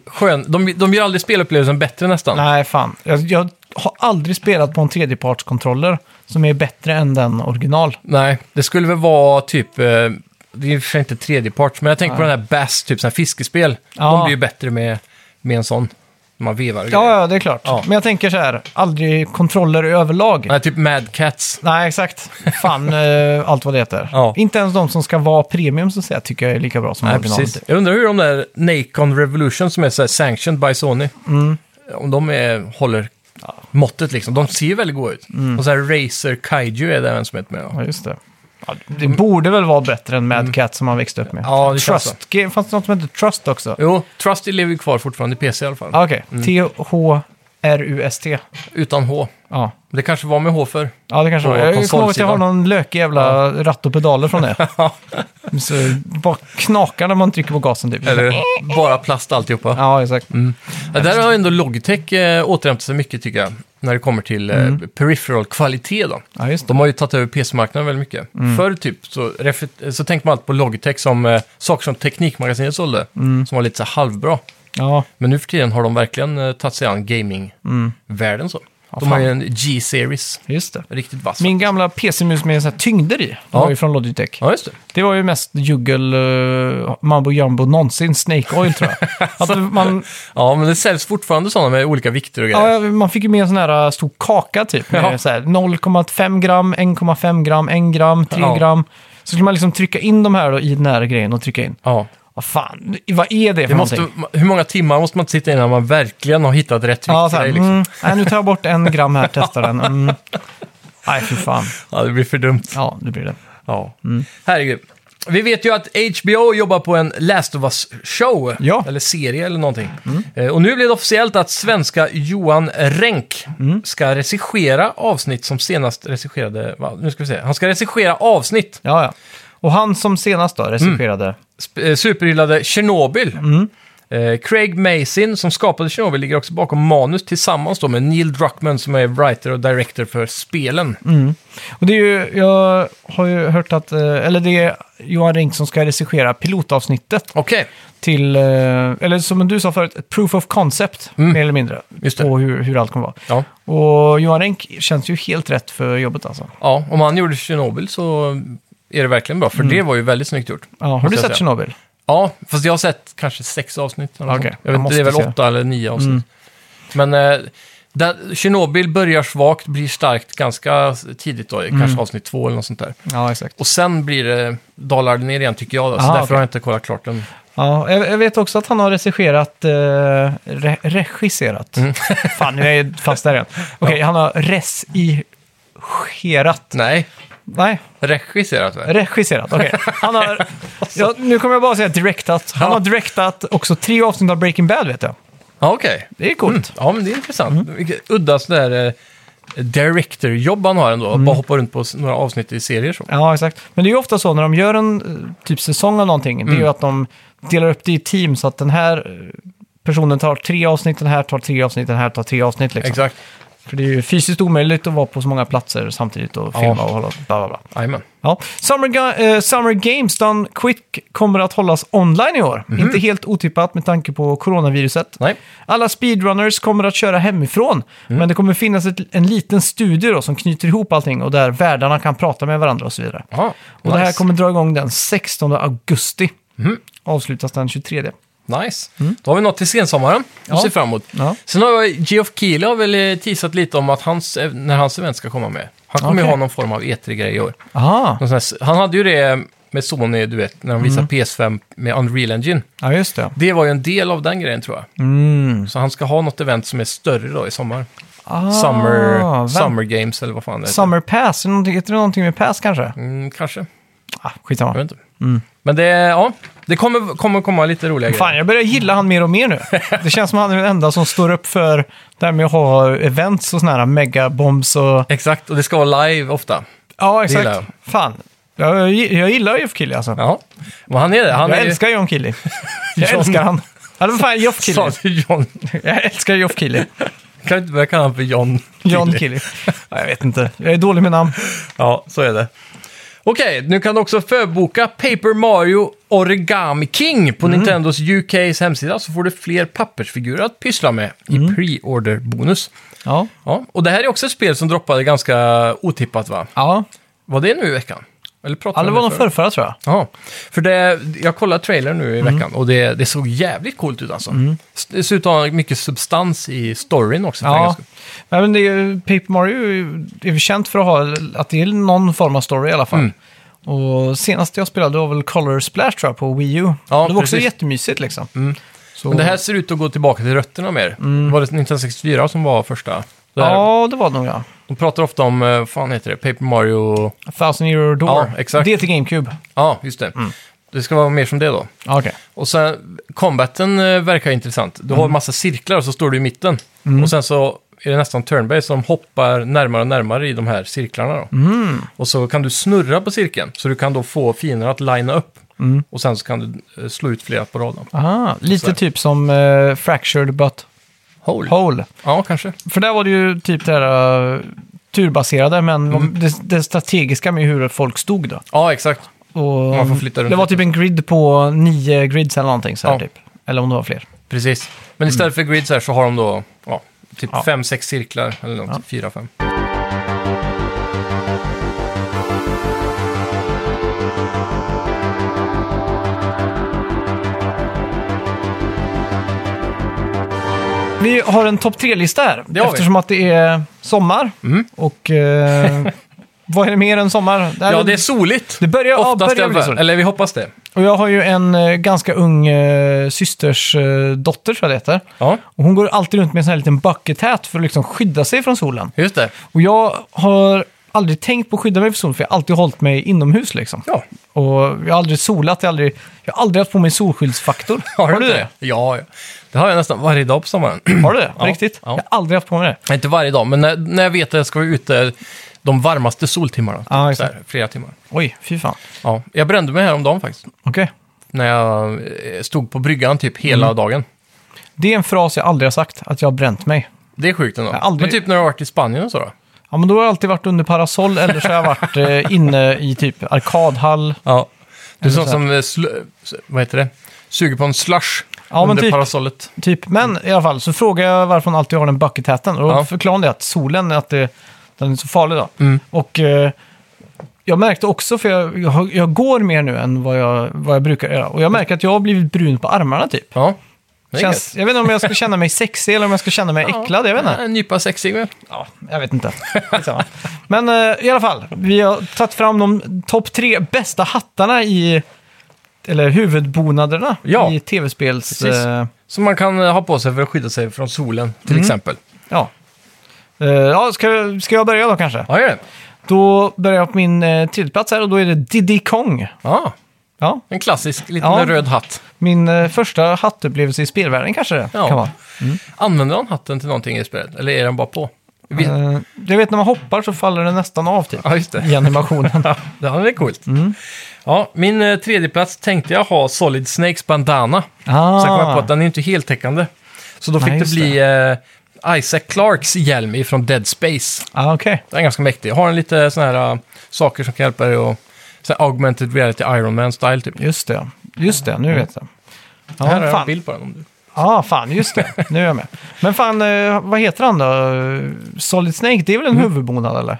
Speaker 2: skön. De, de gör aldrig spelupplevelsen bättre nästan.
Speaker 1: Nej, fan. Jag, jag har aldrig spelat på en tredjepartskontroller som är bättre än den original.
Speaker 2: Nej, det skulle väl vara typ... eh, Det är i och för sig inte tredjeparts, men jag tänker på den här Bass, typ sån här fiskespel.
Speaker 1: Ja.
Speaker 2: De blir ju bättre med, med en sån. Man vevar och
Speaker 1: Ja,
Speaker 2: grejer.
Speaker 1: ja, det är klart.
Speaker 2: Ja.
Speaker 1: Men jag tänker så här, aldrig kontroller överlag.
Speaker 2: Nej, typ Mad Cats.
Speaker 1: Nej, exakt. Fan, eh, allt vad det heter.
Speaker 2: Ja.
Speaker 1: Inte ens de som ska vara premium så att säga, tycker jag är lika bra som
Speaker 2: Nej,
Speaker 1: originalet.
Speaker 2: precis. Jag undrar hur de där Nacon Revolution som är så här sanctioned by Sony,
Speaker 1: Mm.
Speaker 2: om de är, håller måttet liksom. De ser ju väldigt goda ut.
Speaker 1: Mm.
Speaker 2: Och så här Razer Kaiju är det även som heter med. Ja. Mm.
Speaker 1: Ja, just det. Ja, det borde väl vara bättre än Mad Cat som man växte upp med.
Speaker 2: Ja, det känns
Speaker 1: Trust. Ge- Fanns det något som hette Trust också?
Speaker 2: Jo, Mm. Trusty lever ju kvar fortfarande i PC i alla fall.
Speaker 1: Ah, Okej. T-H-R-U-S-T.
Speaker 2: Utan H.
Speaker 1: Ja.
Speaker 2: Det kanske var med H för.
Speaker 1: ja, det kanske
Speaker 2: På
Speaker 1: var. Jag kommer ihåg att jag
Speaker 2: konsolsidan.
Speaker 1: har någon lökig jävla ratt och pedaler från det. Så bara knakar när man trycker på gasen typ.
Speaker 2: Eller Mm. bara plast alltihopa.
Speaker 1: Ja, exakt.
Speaker 2: Ja, där har ändå Logitech eh, återhämtat sig mycket tycker jag. När det kommer till eh, peripheral kvalitet då.
Speaker 1: Mm. Ja, Mm. just det.
Speaker 2: De har ju tagit över PC-marknaden väldigt mycket. Förr typ så, refer- så tänkte man alltid på Logitech som eh, saker som Teknikmagasinet sålde.
Speaker 1: Mm.
Speaker 2: Som var lite så här halvbra.
Speaker 1: Ja,
Speaker 2: Men nu för tiden har de verkligen eh, tagit sig an gaming-världen så. de har
Speaker 1: Mm. fan.
Speaker 2: ju en G-series.
Speaker 1: just det.
Speaker 2: Riktigt vass.
Speaker 1: Min gamla PC-mus med så här tyngder i
Speaker 2: Ja.
Speaker 1: var ju från Logitech.
Speaker 2: Ja, just det.
Speaker 1: Det var ju mest juggel, uh, mambo jumbo någonsin, Snake Oil tror jag. Att man,
Speaker 2: Ja, men det säljs fortfarande sådana med olika vikter och grejer.
Speaker 1: ja, man fick ju med en sån här äh, stor kaka typ. Med
Speaker 2: Ja.
Speaker 1: så här 0,5 gram, 1,5 gram, 1 gram, 3
Speaker 2: Ja.
Speaker 1: gram. Så skulle man liksom trycka in de här då, i den här grejen och trycka in.
Speaker 2: Ja.
Speaker 1: Vad fan, vad är det för
Speaker 2: Det måste,
Speaker 1: någonting?
Speaker 2: hur många timmar måste man sitta innan man verkligen har hittat rätt vikt?
Speaker 1: Ja,
Speaker 2: Ja,
Speaker 1: så här,
Speaker 2: liksom?
Speaker 1: mm, nej, nu tar jag bort en gram här, testar den. Mm. Nej, för fan.
Speaker 2: ja, det blir för dumt.
Speaker 1: Ja, det blir det.
Speaker 2: Ja. Herregud. Vi vet ju att HBO jobbar på en Last of Us-show,
Speaker 1: Ja.
Speaker 2: eller serie eller någonting. Eh, Och nu blir det officiellt att svenska Johan Renck ska regissera avsnitt som senast regisserade... Va? Nu ska vi se. Han ska regissera avsnitt.
Speaker 1: Ja, ja. Och han som senast då recenserade.
Speaker 2: Sp- eh, Superhyllade Tjernobyl. Eh, Craig Mason som skapade Tjernobyl ligger också bakom manus tillsammans då med Neil Druckmann som är writer och director för spelen.
Speaker 1: Och det är ju, jag har ju hört att, eh, eller det är Johan Renck som ska regissera pilotavsnittet
Speaker 2: Okej,
Speaker 1: till, eh, eller som du sa förut, ett proof of concept, mer eller mindre,
Speaker 2: Mm. Just det.
Speaker 1: på hur, hur allt kommer vara.
Speaker 2: ja.
Speaker 1: Och Johan Renck känns ju helt rätt för jobbet alltså.
Speaker 2: ja. Om han gjorde Tjernobyl så är det verkligen bra, för
Speaker 1: Mm.
Speaker 2: det var ju väldigt snyggt gjort.
Speaker 1: Ja, har
Speaker 2: Måste
Speaker 1: du
Speaker 2: jag
Speaker 1: sett
Speaker 2: säga.
Speaker 1: Tjernobyl?
Speaker 2: Ja, fast jag har sett kanske sex avsnitt. Eller något
Speaker 1: Okej,
Speaker 2: sånt.
Speaker 1: jag
Speaker 2: jag vet inte, det är väl
Speaker 1: måste se. Mm.
Speaker 2: åtta eller nio avsnitt. Men eh, där, Tjernobyl börjar svagt, blir starkt ganska tidigt då,
Speaker 1: Mm.
Speaker 2: kanske avsnitt två eller något sånt där.
Speaker 1: Ja, exakt.
Speaker 2: Och sen blir det, dalar det ner igen tycker jag, då, så
Speaker 1: Ah,
Speaker 2: därför
Speaker 1: okej.
Speaker 2: har jag inte kollat klart den.
Speaker 1: Ja, jag, jag vet också att han har regisserat, eh, re, regisserat.
Speaker 2: Mm.
Speaker 1: Fan, nu är jag fast där igen. Okej, han har resigerat.
Speaker 2: Nej,
Speaker 1: Nej,
Speaker 2: regisserat väl?
Speaker 1: regisserat. Okej. Han har, ja, nu kommer jag bara säga direktat. Han
Speaker 2: Ja.
Speaker 1: har direktat också tre avsnitt av Breaking Bad, vet jag.
Speaker 2: Ja, okej.
Speaker 1: Det är coolt.
Speaker 2: Ja, men det är intressant.
Speaker 1: Mm.
Speaker 2: Vilket udda sådär eh, director-jobb han har ändå, bara hoppa runt på s- några avsnitt i serier så.
Speaker 1: Ja, Mm. exakt. Men det är ju ofta så när de gör en eh, typ säsong av någonting, det är
Speaker 2: Mm.
Speaker 1: ju att de delar upp det i team så att den här eh, personen tar tre avsnitt, den här tar tre avsnitt, den här tar tre avsnitt. Liksom.
Speaker 2: Exakt.
Speaker 1: För det är ju fysiskt omöjligt att vara på så många platser samtidigt och
Speaker 2: Ja.
Speaker 1: filma och hålla bla bla bla.
Speaker 2: Jajamän.
Speaker 1: Ja. Summer, Ga- eh, Summer Games Done Quick kommer att hållas online i år. Inte helt otippat med tanke på coronaviruset.
Speaker 2: Mhm. Nej. Mm.
Speaker 1: Alla speedrunners kommer att köra hemifrån, men det kommer finnas ett, en liten studio då, som knyter ihop allting och där värdarna kan prata med varandra och så vidare.
Speaker 2: Ja,
Speaker 1: Och det här
Speaker 2: nice. Mhm.
Speaker 1: kommer dra igång den 16 augusti. Avslutas den 23.
Speaker 2: Nice. Då har vi något till sensommaren att
Speaker 1: Mm. Ja.
Speaker 2: se fram emot.
Speaker 1: Ja.
Speaker 2: Sen har jag- Geoff Keighley har väl eh, teasat lite om att hans, eh, när hans event ska komma med. Han kommer ju
Speaker 1: Okej.
Speaker 2: ha någon form av E3-grej i år.
Speaker 1: Aha.
Speaker 2: Någon sån här s- Han hade ju det eh, med Sony, du vet, när de visade
Speaker 1: Mm.
Speaker 2: PS5 med Unreal Engine.
Speaker 1: Ja, just det.
Speaker 2: Det var ju en del av den grejen tror jag. Så han ska ha något event som är större då i sommar.
Speaker 1: Mm. Ah,
Speaker 2: summer,
Speaker 1: vänt-
Speaker 2: summer Games eller vad fan det heter.
Speaker 1: Summer Pass, är det någonting- heter det någonting med Pass kanske?
Speaker 2: Mm, kanske,
Speaker 1: Ah, skitsamma.
Speaker 2: jag vet inte. Men det, ja, det kommer, kommer komma lite roliga
Speaker 1: Mm. Fan,
Speaker 2: grejer.
Speaker 1: jag börjar gilla han mer och mer nu. Det känns som han är den enda som står upp för det här med att ha events och sådana här megabombs och...
Speaker 2: Exakt, och det ska vara live ofta.
Speaker 1: Ja,
Speaker 2: gillar
Speaker 1: exakt.
Speaker 2: jag.
Speaker 1: Fan. Jag, jag gillar Jeff Killy alltså.
Speaker 2: Ja, men han är det. Han
Speaker 1: jag
Speaker 2: är ju-
Speaker 1: älskar John Killy. Jag
Speaker 2: John-
Speaker 1: älskar han. Ja, det var fan Jeff Killy.
Speaker 2: Sa du John?
Speaker 1: Jag älskar Jeff Killy.
Speaker 2: Kan du inte börja kalla honom för John?
Speaker 1: John
Speaker 2: Killy?
Speaker 1: Killy. Ja, jag vet inte. Jag är dålig med namn.
Speaker 2: Ja, så är det. Okej, nu kan du också förboka Paper Mario Origami King på
Speaker 1: Mm.
Speaker 2: Nintendos UKs hemsida så får du fler pappersfigurer att pyssla med
Speaker 1: Mm.
Speaker 2: i pre-order-bonus.
Speaker 1: Ja.
Speaker 2: Ja, och det här är också ett spel som droppade ganska otippat va?
Speaker 1: Ja.
Speaker 2: Var det nu i veckan? Eller pratade
Speaker 1: Ja, det
Speaker 2: vi
Speaker 1: var
Speaker 2: om
Speaker 1: nog förrförra tror jag.
Speaker 2: Ja, för det, jag kollade trailern nu i
Speaker 1: Mm.
Speaker 2: veckan och det, det såg jävligt coolt ut alltså. S- Det ser ut att ha mycket substans i storyn också. för en
Speaker 1: Ja.
Speaker 2: ganska-
Speaker 1: Nej, men det är, ju- Paper Mario är ju- är ju känt för att ha att det är någon form av story i alla fall.
Speaker 2: Mm.
Speaker 1: Och senast jag spelade var väl Color Splash tror jag på Wii U. det var också
Speaker 2: precis. Mm.
Speaker 1: jättemysigt liksom. Så...
Speaker 2: Men det här ser ut att gå tillbaka till rötterna mer. Var det 1964 som var första? Det här-
Speaker 1: Ja, det var det nog ja.
Speaker 2: De pratar ofta om, eh, vad fan heter det, Paper Mario...
Speaker 1: A Thousand Euro Door.
Speaker 2: Ja, exakt.
Speaker 1: Det är till GameCube.
Speaker 2: Ja, just det. Det ska vara mer som det då.
Speaker 1: Ja, okej.
Speaker 2: Och sen, combaten eh, verkar intressant. Du har en massa cirklar och så står du i mitten. Och sen så är det nästan turnbase som hoppar närmare och närmare i de här cirklarna då. Och så kan du snurra på cirkeln, så du kan då få fienderna att linea upp. Och sen så kan du eh, slå ut flera på raden.
Speaker 1: Aha, lite
Speaker 2: Så här.
Speaker 1: typ som eh, Fractured But
Speaker 2: Hole.
Speaker 1: Whole.
Speaker 2: Ja, kanske.
Speaker 1: För där var det ju typ det här eh, turbaserade, men
Speaker 2: Mm.
Speaker 1: det, det strategiska med hur folk stod då.
Speaker 2: Ja, exakt.
Speaker 1: Och
Speaker 2: Man får flytta runt
Speaker 1: det var
Speaker 2: lite.
Speaker 1: typ en grid på nio grids eller någonting så här
Speaker 2: Ja.
Speaker 1: typ. Eller om det var fler.
Speaker 2: Precis. Men istället för grids här så har de då ja, typ
Speaker 1: Ja.
Speaker 2: fem, sex cirklar eller något, fyra, fem.
Speaker 1: Vi har en topp tre-lista här,
Speaker 2: Det har vi. Mm.
Speaker 1: eftersom att det är sommar. Och eh, vad är det mer än sommar? Det, här-
Speaker 2: Ja, det är soligt.
Speaker 1: det börjar, ja,
Speaker 2: Oftast i
Speaker 1: börjar
Speaker 2: alla
Speaker 1: bli
Speaker 2: fall.
Speaker 1: så.
Speaker 2: Eller vi hoppas det.
Speaker 1: Och jag har ju en eh, ganska ung eh, systers eh, dotter, tror jag det heter.
Speaker 2: Ja,
Speaker 1: Och hon går alltid runt med en sån här liten bucket hat för att liksom skydda sig från solen.
Speaker 2: just det.
Speaker 1: Och jag har aldrig tänkt på att skydda mig från solen, för jag har alltid hållit mig inomhus liksom.
Speaker 2: Ja.
Speaker 1: Och jag har aldrig solat, jag har aldrig, jag har aldrig haft på mig solskyddsfaktor.
Speaker 2: inte
Speaker 1: du det?
Speaker 2: Ja, ja. det har jag nästan varje dag på sommaren.
Speaker 1: Har du det? På
Speaker 2: Mm. Ja,
Speaker 1: Riktigt?
Speaker 2: ja.
Speaker 1: Jag har aldrig haft på mig det.
Speaker 2: Inte varje dag, men när, när jag vet att jag ska vara ute de varmaste soltimmarna.
Speaker 1: Ja,
Speaker 2: typ, så
Speaker 1: exakt.
Speaker 2: här, flera timmar.
Speaker 1: Oj, fy fan.
Speaker 2: Ja, jag brände mig häromdagen faktiskt.
Speaker 1: Okej.
Speaker 2: När jag eh, stod på bryggan typ hela dagen.
Speaker 1: Det är en fras jag aldrig har sagt, att jag har bränt mig.
Speaker 2: Det är sjukt ändå.
Speaker 1: Jag har aldrig-
Speaker 2: Men typ när jag har varit i Spanien och så då?
Speaker 1: Ja, men då har jag alltid varit under parasoll eller så har jag varit eh, inne i typ arkadhall.
Speaker 2: Ja. Du är sån
Speaker 1: så
Speaker 2: som, eh, sl- s- vad heter det, suger på en slush
Speaker 1: Ja, men
Speaker 2: under
Speaker 1: typ.
Speaker 2: parasollet.
Speaker 1: Typ. Men i alla fall så frågar jag varför hon alltid har den bucket hatten. Och då
Speaker 2: Ja. Mm.
Speaker 1: förklarade jag att solen, att det, den är så farlig då. Och eh, jag märkte också, för jag, jag, har- jag går mer nu än vad jag, vad jag brukar göra. Och jag märker att jag har blivit brun på armarna typ.
Speaker 2: Ja, det är
Speaker 1: Känns, jag vet inte om jag ska känna mig sexig eller om jag ska känna mig
Speaker 2: gött.
Speaker 1: äcklad. Jag vet inte.
Speaker 2: Ja, en nypa sexig väl?
Speaker 1: Ja, jag vet inte. Skitsamma. Men eh, i alla fall, vi har tagit fram de topp tre bästa hattarna i... Eller huvudbonaderna
Speaker 2: Ja.
Speaker 1: i tv-spels...
Speaker 2: Precis.
Speaker 1: eh,
Speaker 2: Som man kan eh, ha på sig för att skydda sig från solen, till
Speaker 1: Mm.
Speaker 2: exempel.
Speaker 1: ja. Eh, ja, ska, ska jag börja då kanske?
Speaker 2: Ja, gör det.
Speaker 1: Då börjar jag på min uh, tredjeplats här och då är det Diddy Kong.
Speaker 2: Ja,
Speaker 1: Ja,
Speaker 2: en klassisk liten
Speaker 1: Ja.
Speaker 2: röd hatt.
Speaker 1: min eh, första hattupplevelse i spelvärlden kanske det
Speaker 2: Ja.
Speaker 1: kan vara.
Speaker 2: Använder han hatten till någonting i spelet? Eller är den bara på? Vi...
Speaker 1: Eh, jag vet när man hoppar så faller den nästan av typ.
Speaker 2: Ja, just det.
Speaker 1: I animationen.
Speaker 2: Det här är coolt.
Speaker 1: Mm.
Speaker 2: Ja, min eh, tredje plats tänkte jag ha Solid Snakes bandana.
Speaker 1: Ah.
Speaker 2: Sen kom jag på att den är inte heltäckande. Så då fick
Speaker 1: Nej,
Speaker 2: det
Speaker 1: just
Speaker 2: bli eh, Isaac Clarks hjälm från Dead Space.
Speaker 1: ah, okej.
Speaker 2: Den är ganska mäktig. Har en lite sådana här eh, saker som kan hjälpa dig att... Så här augmented reality Iron Man-style typ.
Speaker 1: Just det. Just det, nu vet jag. Ja,
Speaker 2: Mm. här har jag
Speaker 1: fan.
Speaker 2: en bild på den om du...
Speaker 1: Ja, ah, fan, just det. Nu är jag med. Men fan, eh, vad heter han då? Solid Snake, det är väl en
Speaker 2: Mm.
Speaker 1: huvudbonad eller?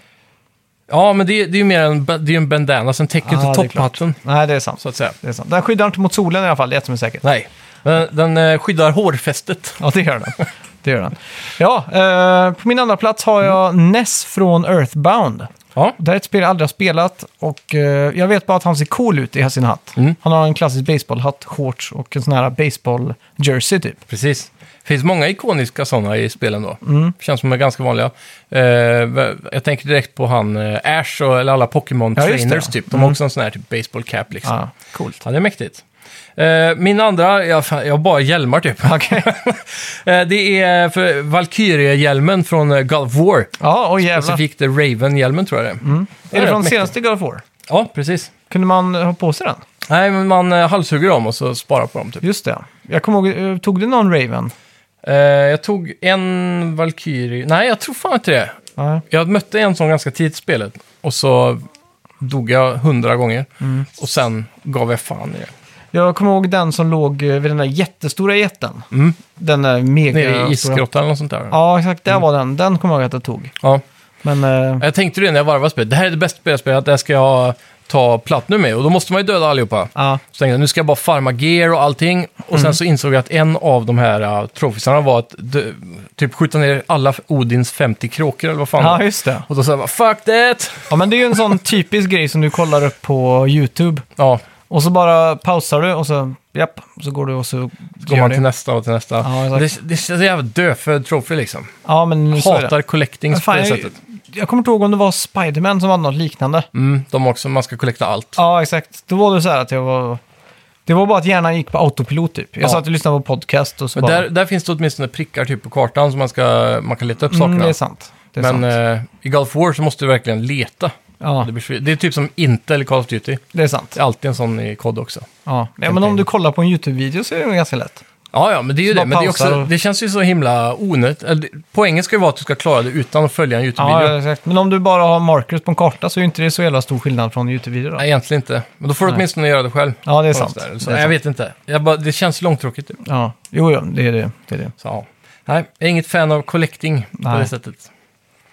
Speaker 2: Ja, men det, är- det är ju mer en, ba- det är ju en bandana som täcker
Speaker 1: Ah,
Speaker 2: inte
Speaker 1: det är klart.
Speaker 2: topphatten,
Speaker 1: Nej, det är sant.
Speaker 2: så att säga.
Speaker 1: Det är sant. Den skyddar inte mot solen i alla fall, det är ett som är säkert.
Speaker 2: Nej, den, den eh, skyddar hårfästet.
Speaker 1: Ja, det gör den. Det gör den. Ja, eh, på min andra plats har jag
Speaker 2: Mm.
Speaker 1: Ness från Earthbound.
Speaker 2: Ja,
Speaker 1: Det här är ett spel jag aldrig har spelat och eh, jag vet bara att han ser cool ut i sin hatt.
Speaker 2: Mm.
Speaker 1: Han har en klassisk baseballhatt, shorts och en sån här baseball-jersey typ.
Speaker 2: precis. Det finns många ikoniska sådana i spelen då.
Speaker 1: Mm.
Speaker 2: Känns som de är ganska vanliga. Eh, jag tänker direkt på han eh, Ash och eller alla
Speaker 1: Ja, just det,
Speaker 2: Pokémon-trainers
Speaker 1: ja. Mm.
Speaker 2: typ. De har också en sån här typ baseball cap liksom.
Speaker 1: Ja, coolt.
Speaker 2: Ja, det är mäktigt. Eh, min andra, jag, fan, jag har bara hjälmar typ.
Speaker 1: Okej.
Speaker 2: Eh, det är för Valkyrie-hjälmen från eh, God of War.
Speaker 1: Ja, och jävlar. Mm.
Speaker 2: Specifikt eh, Raven-hjälmen tror jag det är.
Speaker 1: Är det
Speaker 2: rätt
Speaker 1: från
Speaker 2: mäktigt.
Speaker 1: senaste God of War?
Speaker 2: Ja, precis.
Speaker 1: Kunde man ha på sig den?
Speaker 2: Nej, men man eh, halshugger dem och så sparar på dem typ.
Speaker 1: Just det. Jag kommer ihåg, eh, tog du någon Raven?
Speaker 2: Eh, jag tog en Valkyrie. Nej, jag tror fan inte det.
Speaker 1: Nej.
Speaker 2: Jag mötte en sån ganska tidigt i spelet och så dog jag hundra gånger.
Speaker 1: Mm.
Speaker 2: Och sen gav jag fan i det.
Speaker 1: Jag kommer ihåg den som låg eh, vid den där jättestora jätten.
Speaker 2: Mm.
Speaker 1: Den där mega...
Speaker 2: Nere i
Speaker 1: stora-
Speaker 2: isgrottan eller något sånt där.
Speaker 1: Ja, exakt. Där var den. Den kommer jag ihåg att jag tog.
Speaker 2: Ja.
Speaker 1: Men eh,
Speaker 2: Jag tänkte det när jag varvade spelet. Det här är det bästa spelet jag spelat. Det här ska jag ta Platinum med. Och då måste man ju döda allihopa.
Speaker 1: Ja.
Speaker 2: Så tänkte jag, nu ska jag bara farma gear och allting. Och
Speaker 1: Mm.
Speaker 2: sen så insåg jag att en av de här uh, trofisarna var att dö- typ skjuta ner alla Odins 50 kråkor eller vad fan.
Speaker 1: Ja, just det.
Speaker 2: Och då sa jag bara, fuck that!
Speaker 1: Ja, men det är ju en sån typisk grej som du kollar upp på YouTube.
Speaker 2: Ja,
Speaker 1: Och så bara pausar du och så, japp, så går du och så
Speaker 2: går
Speaker 1: gör
Speaker 2: man
Speaker 1: det.
Speaker 2: till nästa och till nästa.
Speaker 1: Ja,
Speaker 2: det,
Speaker 1: exakt.
Speaker 2: det är så jävla dödfödd trofé liksom.
Speaker 1: Ja, men så är det.
Speaker 2: Hatar collecting
Speaker 1: Men
Speaker 2: på
Speaker 1: fan,
Speaker 2: det
Speaker 1: jag,
Speaker 2: sättet.
Speaker 1: jag kommer inte ihåg om det var Spiderman som hade något liknande.
Speaker 2: Mm, de också, man ska collecta allt.
Speaker 1: Ja, exakt. Då var det så här att jag var... Det var bara att hjärnan gick på autopilot typ. Jag
Speaker 2: Ja.
Speaker 1: satt och lyssnade på podcast och så
Speaker 2: Men
Speaker 1: bara...
Speaker 2: där, där finns det åtminstone prickar typ på kartan som man, ska, man kan leta upp
Speaker 1: mm,
Speaker 2: sakerna.
Speaker 1: det är sant. Det är
Speaker 2: Men
Speaker 1: sant.
Speaker 2: eh, i Gulf War så måste du verkligen leta.
Speaker 1: ja,
Speaker 2: Det, blir, svårt. det är typ som inte eller Call of Duty.
Speaker 1: det är sant.
Speaker 2: Det är alltid en sån i kod också.
Speaker 1: Ja. Ja, men om du kollar på en YouTube-video så är det nog ganska lätt.
Speaker 2: Ja, ja, men det är ju
Speaker 1: Så bara
Speaker 2: det. Men det, är
Speaker 1: pausar
Speaker 2: också,
Speaker 1: och-
Speaker 2: det känns ju så himla onödigt. Eller, det- Poängen ska ju vara att du ska klara det utan att följa en
Speaker 1: Ja,
Speaker 2: YouTube-video.
Speaker 1: exakt. Men om du bara har markers på en karta så är ju inte det så jävla stor skillnad från YouTube-video då.
Speaker 2: Nej, egentligen inte. Men då får du
Speaker 1: Nej.
Speaker 2: åtminstone göra det själv.
Speaker 1: Ja, det är
Speaker 2: På något
Speaker 1: sant.
Speaker 2: sätt. Så,
Speaker 1: Det är
Speaker 2: jag
Speaker 1: sant.
Speaker 2: vet inte. Jag bara, det känns långtråkigt. Typ.
Speaker 1: Ja. Jo, jo, det är det. det, är det.
Speaker 2: Så, ja. Nej, jag är inget fan av collecting på
Speaker 1: Nej.
Speaker 2: det sättet.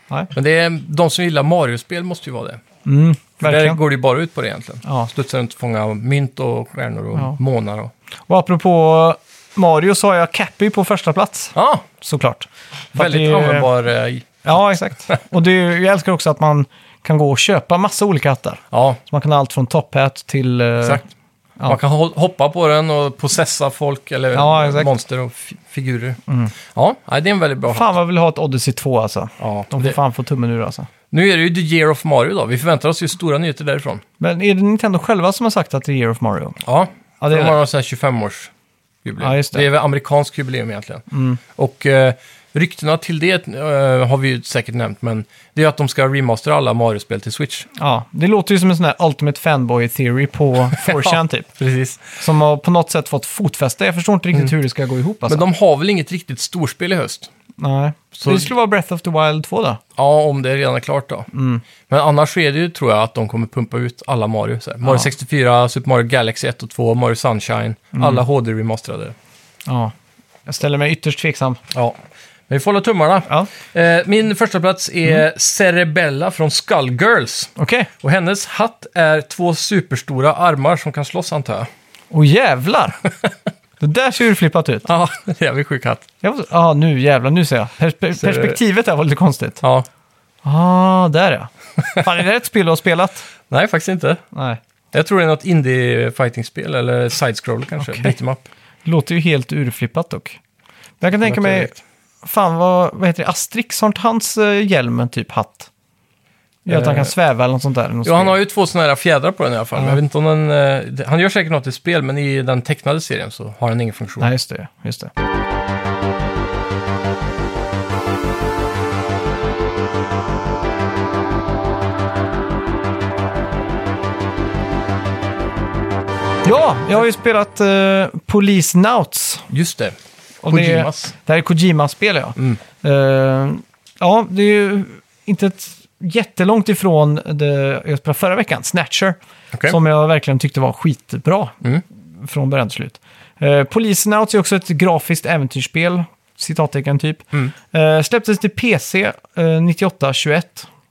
Speaker 1: Nej.
Speaker 2: Men det är, de som gillar Mario-spel måste ju vara det.
Speaker 1: Mm,
Speaker 2: För där
Speaker 1: verkligen.
Speaker 2: går det ju bara ut på det egentligen.
Speaker 1: Ja.
Speaker 2: Studsa runt och fånga mynt och stjärnor och
Speaker 1: Ja.
Speaker 2: månar. Och...
Speaker 1: Och apropå Mario så har jag Cappy på första plats,
Speaker 2: Ja,
Speaker 1: såklart. För att
Speaker 2: väldigt
Speaker 1: det är-
Speaker 2: användbar. eh,
Speaker 1: Ja, exakt. Och det är, jag älskar också att man kan gå och köpa massa olika hattar.
Speaker 2: Ja,
Speaker 1: Så man kan ha allt från top hat till... eh,
Speaker 2: exakt.
Speaker 1: ja.
Speaker 2: Man kan ho- hoppa på den och processa folk eller
Speaker 1: Ja, exakt. Mm.
Speaker 2: monster och fi- figurer. Ja, nej, det är en väldigt bra
Speaker 1: Fan vad jag vill ha ett Odyssey 2 alltså.
Speaker 2: Ja,
Speaker 1: De får
Speaker 2: det,
Speaker 1: fan få tummen ur alltså.
Speaker 2: Nu är det ju The Year of Mario då. Vi förväntar oss ju stora nyheter därifrån.
Speaker 1: Men är det Nintendo själva som har sagt att det är Year of Mario?
Speaker 2: Ja,
Speaker 1: Ja, det
Speaker 2: det är
Speaker 1: är
Speaker 2: de har någon sån här 25-års jubileum.
Speaker 1: Ja, just det. Mm.
Speaker 2: är väl amerikansk jubileum egentligen. Och eh, ryktena till det eh, har vi ju säkert nämnt, men det är att de ska remastera alla Mario-spel till Switch.
Speaker 1: Ja, det låter ju som en sån här Ultimate Fanboy Theory på 4chan typ.
Speaker 2: Precis.
Speaker 1: Som har på något sätt fått fotfäste. Jag förstår inte riktigt hur det ska gå ihop alltså.
Speaker 2: Mm. Men de har väl inget riktigt storspel i höst?
Speaker 1: Nej.
Speaker 2: Så-
Speaker 1: Så... Det skulle vara Breath of the Wild 2 då?
Speaker 2: Ja, om det redan är klart då.
Speaker 1: Mm.
Speaker 2: Men annars så är det ju, tror jag, att de kommer pumpa ut alla Mario. Så här. Mario
Speaker 1: Ja.
Speaker 2: 64, Super Mario Galaxy 1 och 2, Mario Sunshine,
Speaker 1: Mm.
Speaker 2: alla HD-remasterade.
Speaker 1: Ja. Jag ställer mig ytterst tveksam.
Speaker 2: Ja, men vi får hålla tummarna.
Speaker 1: Ja. Mm.
Speaker 2: Eh, min första plats är Cerebella från Skullgirls.
Speaker 1: Okej.
Speaker 2: Och hennes hatt är två superstora armar som kan slåss antar jag.
Speaker 1: Åh jävlar! det där ser ju flippat ut.
Speaker 2: Ja, jävligt sjuk hatt.
Speaker 1: Ja, ah, nu jävlar, nu ser jag. Perspe-
Speaker 2: Ser du?
Speaker 1: perspektivet där var lite konstigt.
Speaker 2: Ja.
Speaker 1: Ah, där ja. Fan, är det ett spel du har spelat?
Speaker 2: Nej, faktiskt inte.
Speaker 1: Nej.
Speaker 2: Jag tror det är något indie-fighting-spel eller side-scroll kanske.
Speaker 1: Okej.
Speaker 2: Beat 'em up.
Speaker 1: Det låter ju helt urflippat dock. Men jag kan tänka mig, fan vad, vad heter det, Asterix, har inte hans eh, hjälm typ hatt? Gör att han kan
Speaker 2: Eh,
Speaker 1: sväva eller något sånt där. i något
Speaker 2: Ja, han
Speaker 1: spel.
Speaker 2: har ju två sådana här fjädrar på den i alla fall. Men jag vet inte om den, eh, det- han gör säkert något i spel, men i den tecknade serien så har den ingen funktion.
Speaker 1: Nej, just det. Just det. Ja, jag har ju spelat eh, Police Nauts.
Speaker 2: Just det.
Speaker 1: Och
Speaker 2: Kojimas. Mm.
Speaker 1: Det, det här är Kojima-spel, ja. Eh, ja, det är ju inte ett jättelångt ifrån det jag spelade förra veckan, Snatcher.
Speaker 2: Okej.
Speaker 1: Som jag verkligen tyckte var skitbra
Speaker 2: Mm.
Speaker 1: från början till slut. Eh, Polisen Outs är också ett grafiskt äventyrsspel, citattecken typ.
Speaker 2: Mm.
Speaker 1: Eh, släpptes till PC eh, 98-21.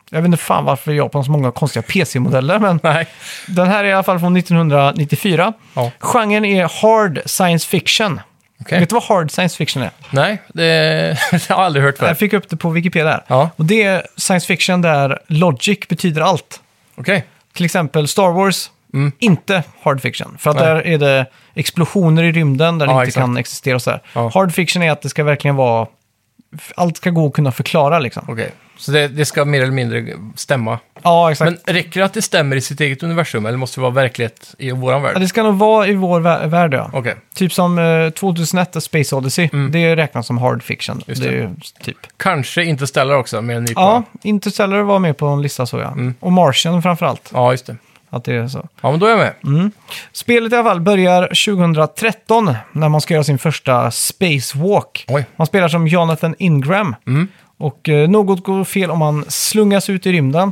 Speaker 1: Jag vet inte fan varför Japan har så många konstiga PC-modeller, men
Speaker 2: Nej.
Speaker 1: den här är i alla fall från 1994.
Speaker 2: Ja.
Speaker 1: Genren är hard science fiction.
Speaker 2: Okej.
Speaker 1: Vet du vad hard science fiction är?
Speaker 2: Nej, det, det har jag aldrig hört
Speaker 1: Jag
Speaker 2: förut.
Speaker 1: fick upp det på Wikipedia. Här.
Speaker 2: Ja.
Speaker 1: Och det är science fiction där logic betyder allt.
Speaker 2: Okej.
Speaker 1: Till exempel Star Wars, inte hard fiction. För att
Speaker 2: Mm. Nej.
Speaker 1: där är det explosioner i rymden där det
Speaker 2: Ja,
Speaker 1: inte
Speaker 2: exakt.
Speaker 1: kan existera och sådär.
Speaker 2: Ja.
Speaker 1: Hard fiction är att det ska verkligen vara... Allt ska gå att kunna förklara liksom.
Speaker 2: Okej, så det, det ska mer eller mindre stämma.
Speaker 1: Ja, exakt.
Speaker 2: Men räcker det att det stämmer i sitt eget universum eller måste det vara verklighet i våran
Speaker 1: Ja,
Speaker 2: värld?
Speaker 1: det ska nog vara i vår vä- värld, ja.
Speaker 2: Okej,
Speaker 1: Typ som eh, 2001, A Space Odyssey. Det räknas som hard fiction.
Speaker 2: Mm. Just
Speaker 1: det.
Speaker 2: det.
Speaker 1: är ju typ.
Speaker 2: kanske inte ställer också med en ny
Speaker 1: Ja,
Speaker 2: plan.
Speaker 1: Interstellar var med på en lista så ja.
Speaker 2: Mm.
Speaker 1: Och Martian framförallt.
Speaker 2: ja, just det.
Speaker 1: Att det är så.
Speaker 2: Ja, men då är jag med.
Speaker 1: Mm. Spelet i alla fall börjar 2013 när man ska göra sin första spacewalk.
Speaker 2: Oj.
Speaker 1: Man spelar som Jonathan Ingram. Och eh, något går fel om man slungas ut i rymden.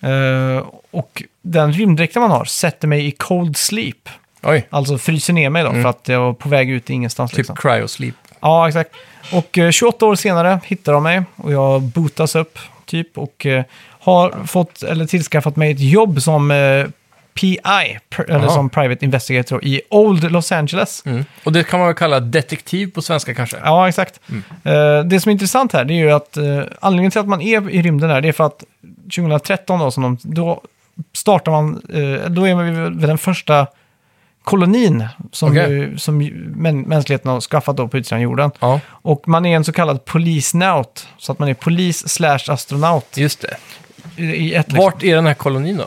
Speaker 1: Eh, och den rymddräkten man har sätter mig i cold sleep.
Speaker 2: Oj,
Speaker 1: Alltså fryser ner mig då för att jag var på väg ut i ingenstans.
Speaker 2: typ
Speaker 1: liksom.
Speaker 2: cryosleep.
Speaker 1: Ja, exakt. Och eh, 28 år senare hittar de mig och jag botas upp typ och eh, har fått eller tillskaffat mig ett jobb som eh, PI, pr- eller
Speaker 2: Aha.
Speaker 1: som Private Investigator, i Old Los Angeles.
Speaker 2: Mm. Och det kan man väl kalla detektiv på svenska kanske?
Speaker 1: Ja, exakt.
Speaker 2: Mm.
Speaker 1: Eh, det som är intressant här det är ju att eh, anledningen till att man är i rymden här, det är för att 2013 då, som de, då startar man, eh, då är man ju vid den första kolonin som,
Speaker 2: Okej.
Speaker 1: ju, som ju män, mänskligheten har skaffat då på utsidan av jorden.
Speaker 2: Ja,
Speaker 1: Och man är en så kallad polisnaut, så att man är polis slash astronaut
Speaker 2: just det.
Speaker 1: i, i ett liksom.
Speaker 2: Vart är den här kolonin då?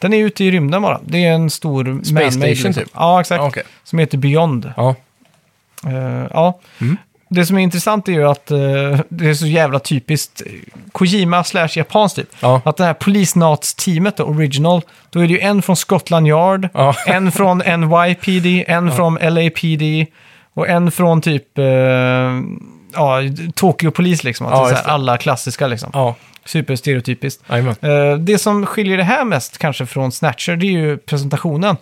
Speaker 1: Den är ute i rymden bara. Det är en stor man-made,
Speaker 2: Station typ.
Speaker 1: Ja, exakt.
Speaker 2: Ja, okej.
Speaker 1: Som heter Beyond.
Speaker 2: Ja,
Speaker 1: Eh, ja.
Speaker 2: Mm.
Speaker 1: Det som är intressant är ju att eh, det är så jävla typiskt eh, Kojima slash japanskt typ.
Speaker 2: Ja.
Speaker 1: Att det här polisnats-teamet, då, original, då är det ju en från Scotland Yard,
Speaker 2: Ja.
Speaker 1: en från NYPD, en från LAPD och en från typ eh, ja, Tokyo Police liksom. Att
Speaker 2: Ja,
Speaker 1: det är så
Speaker 2: just
Speaker 1: här
Speaker 2: det.
Speaker 1: alla klassiska liksom.
Speaker 2: ja,
Speaker 1: Superstereotypiskt.
Speaker 2: jajamän.
Speaker 1: Eh, Det som skiljer det här mest kanske från Snatcher, det är ju presentationen.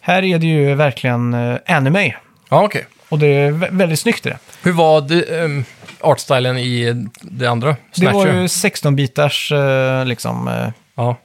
Speaker 1: Här är det ju verkligen eh, anime.
Speaker 2: Ja, okej.
Speaker 1: Och det är vä- väldigt snyggt i det.
Speaker 2: Hur var det, ehm, artstylen i det andra?
Speaker 1: Det var
Speaker 2: Snatcher?
Speaker 1: ju 16-bitars eh, liksom, eh,
Speaker 2: Ja,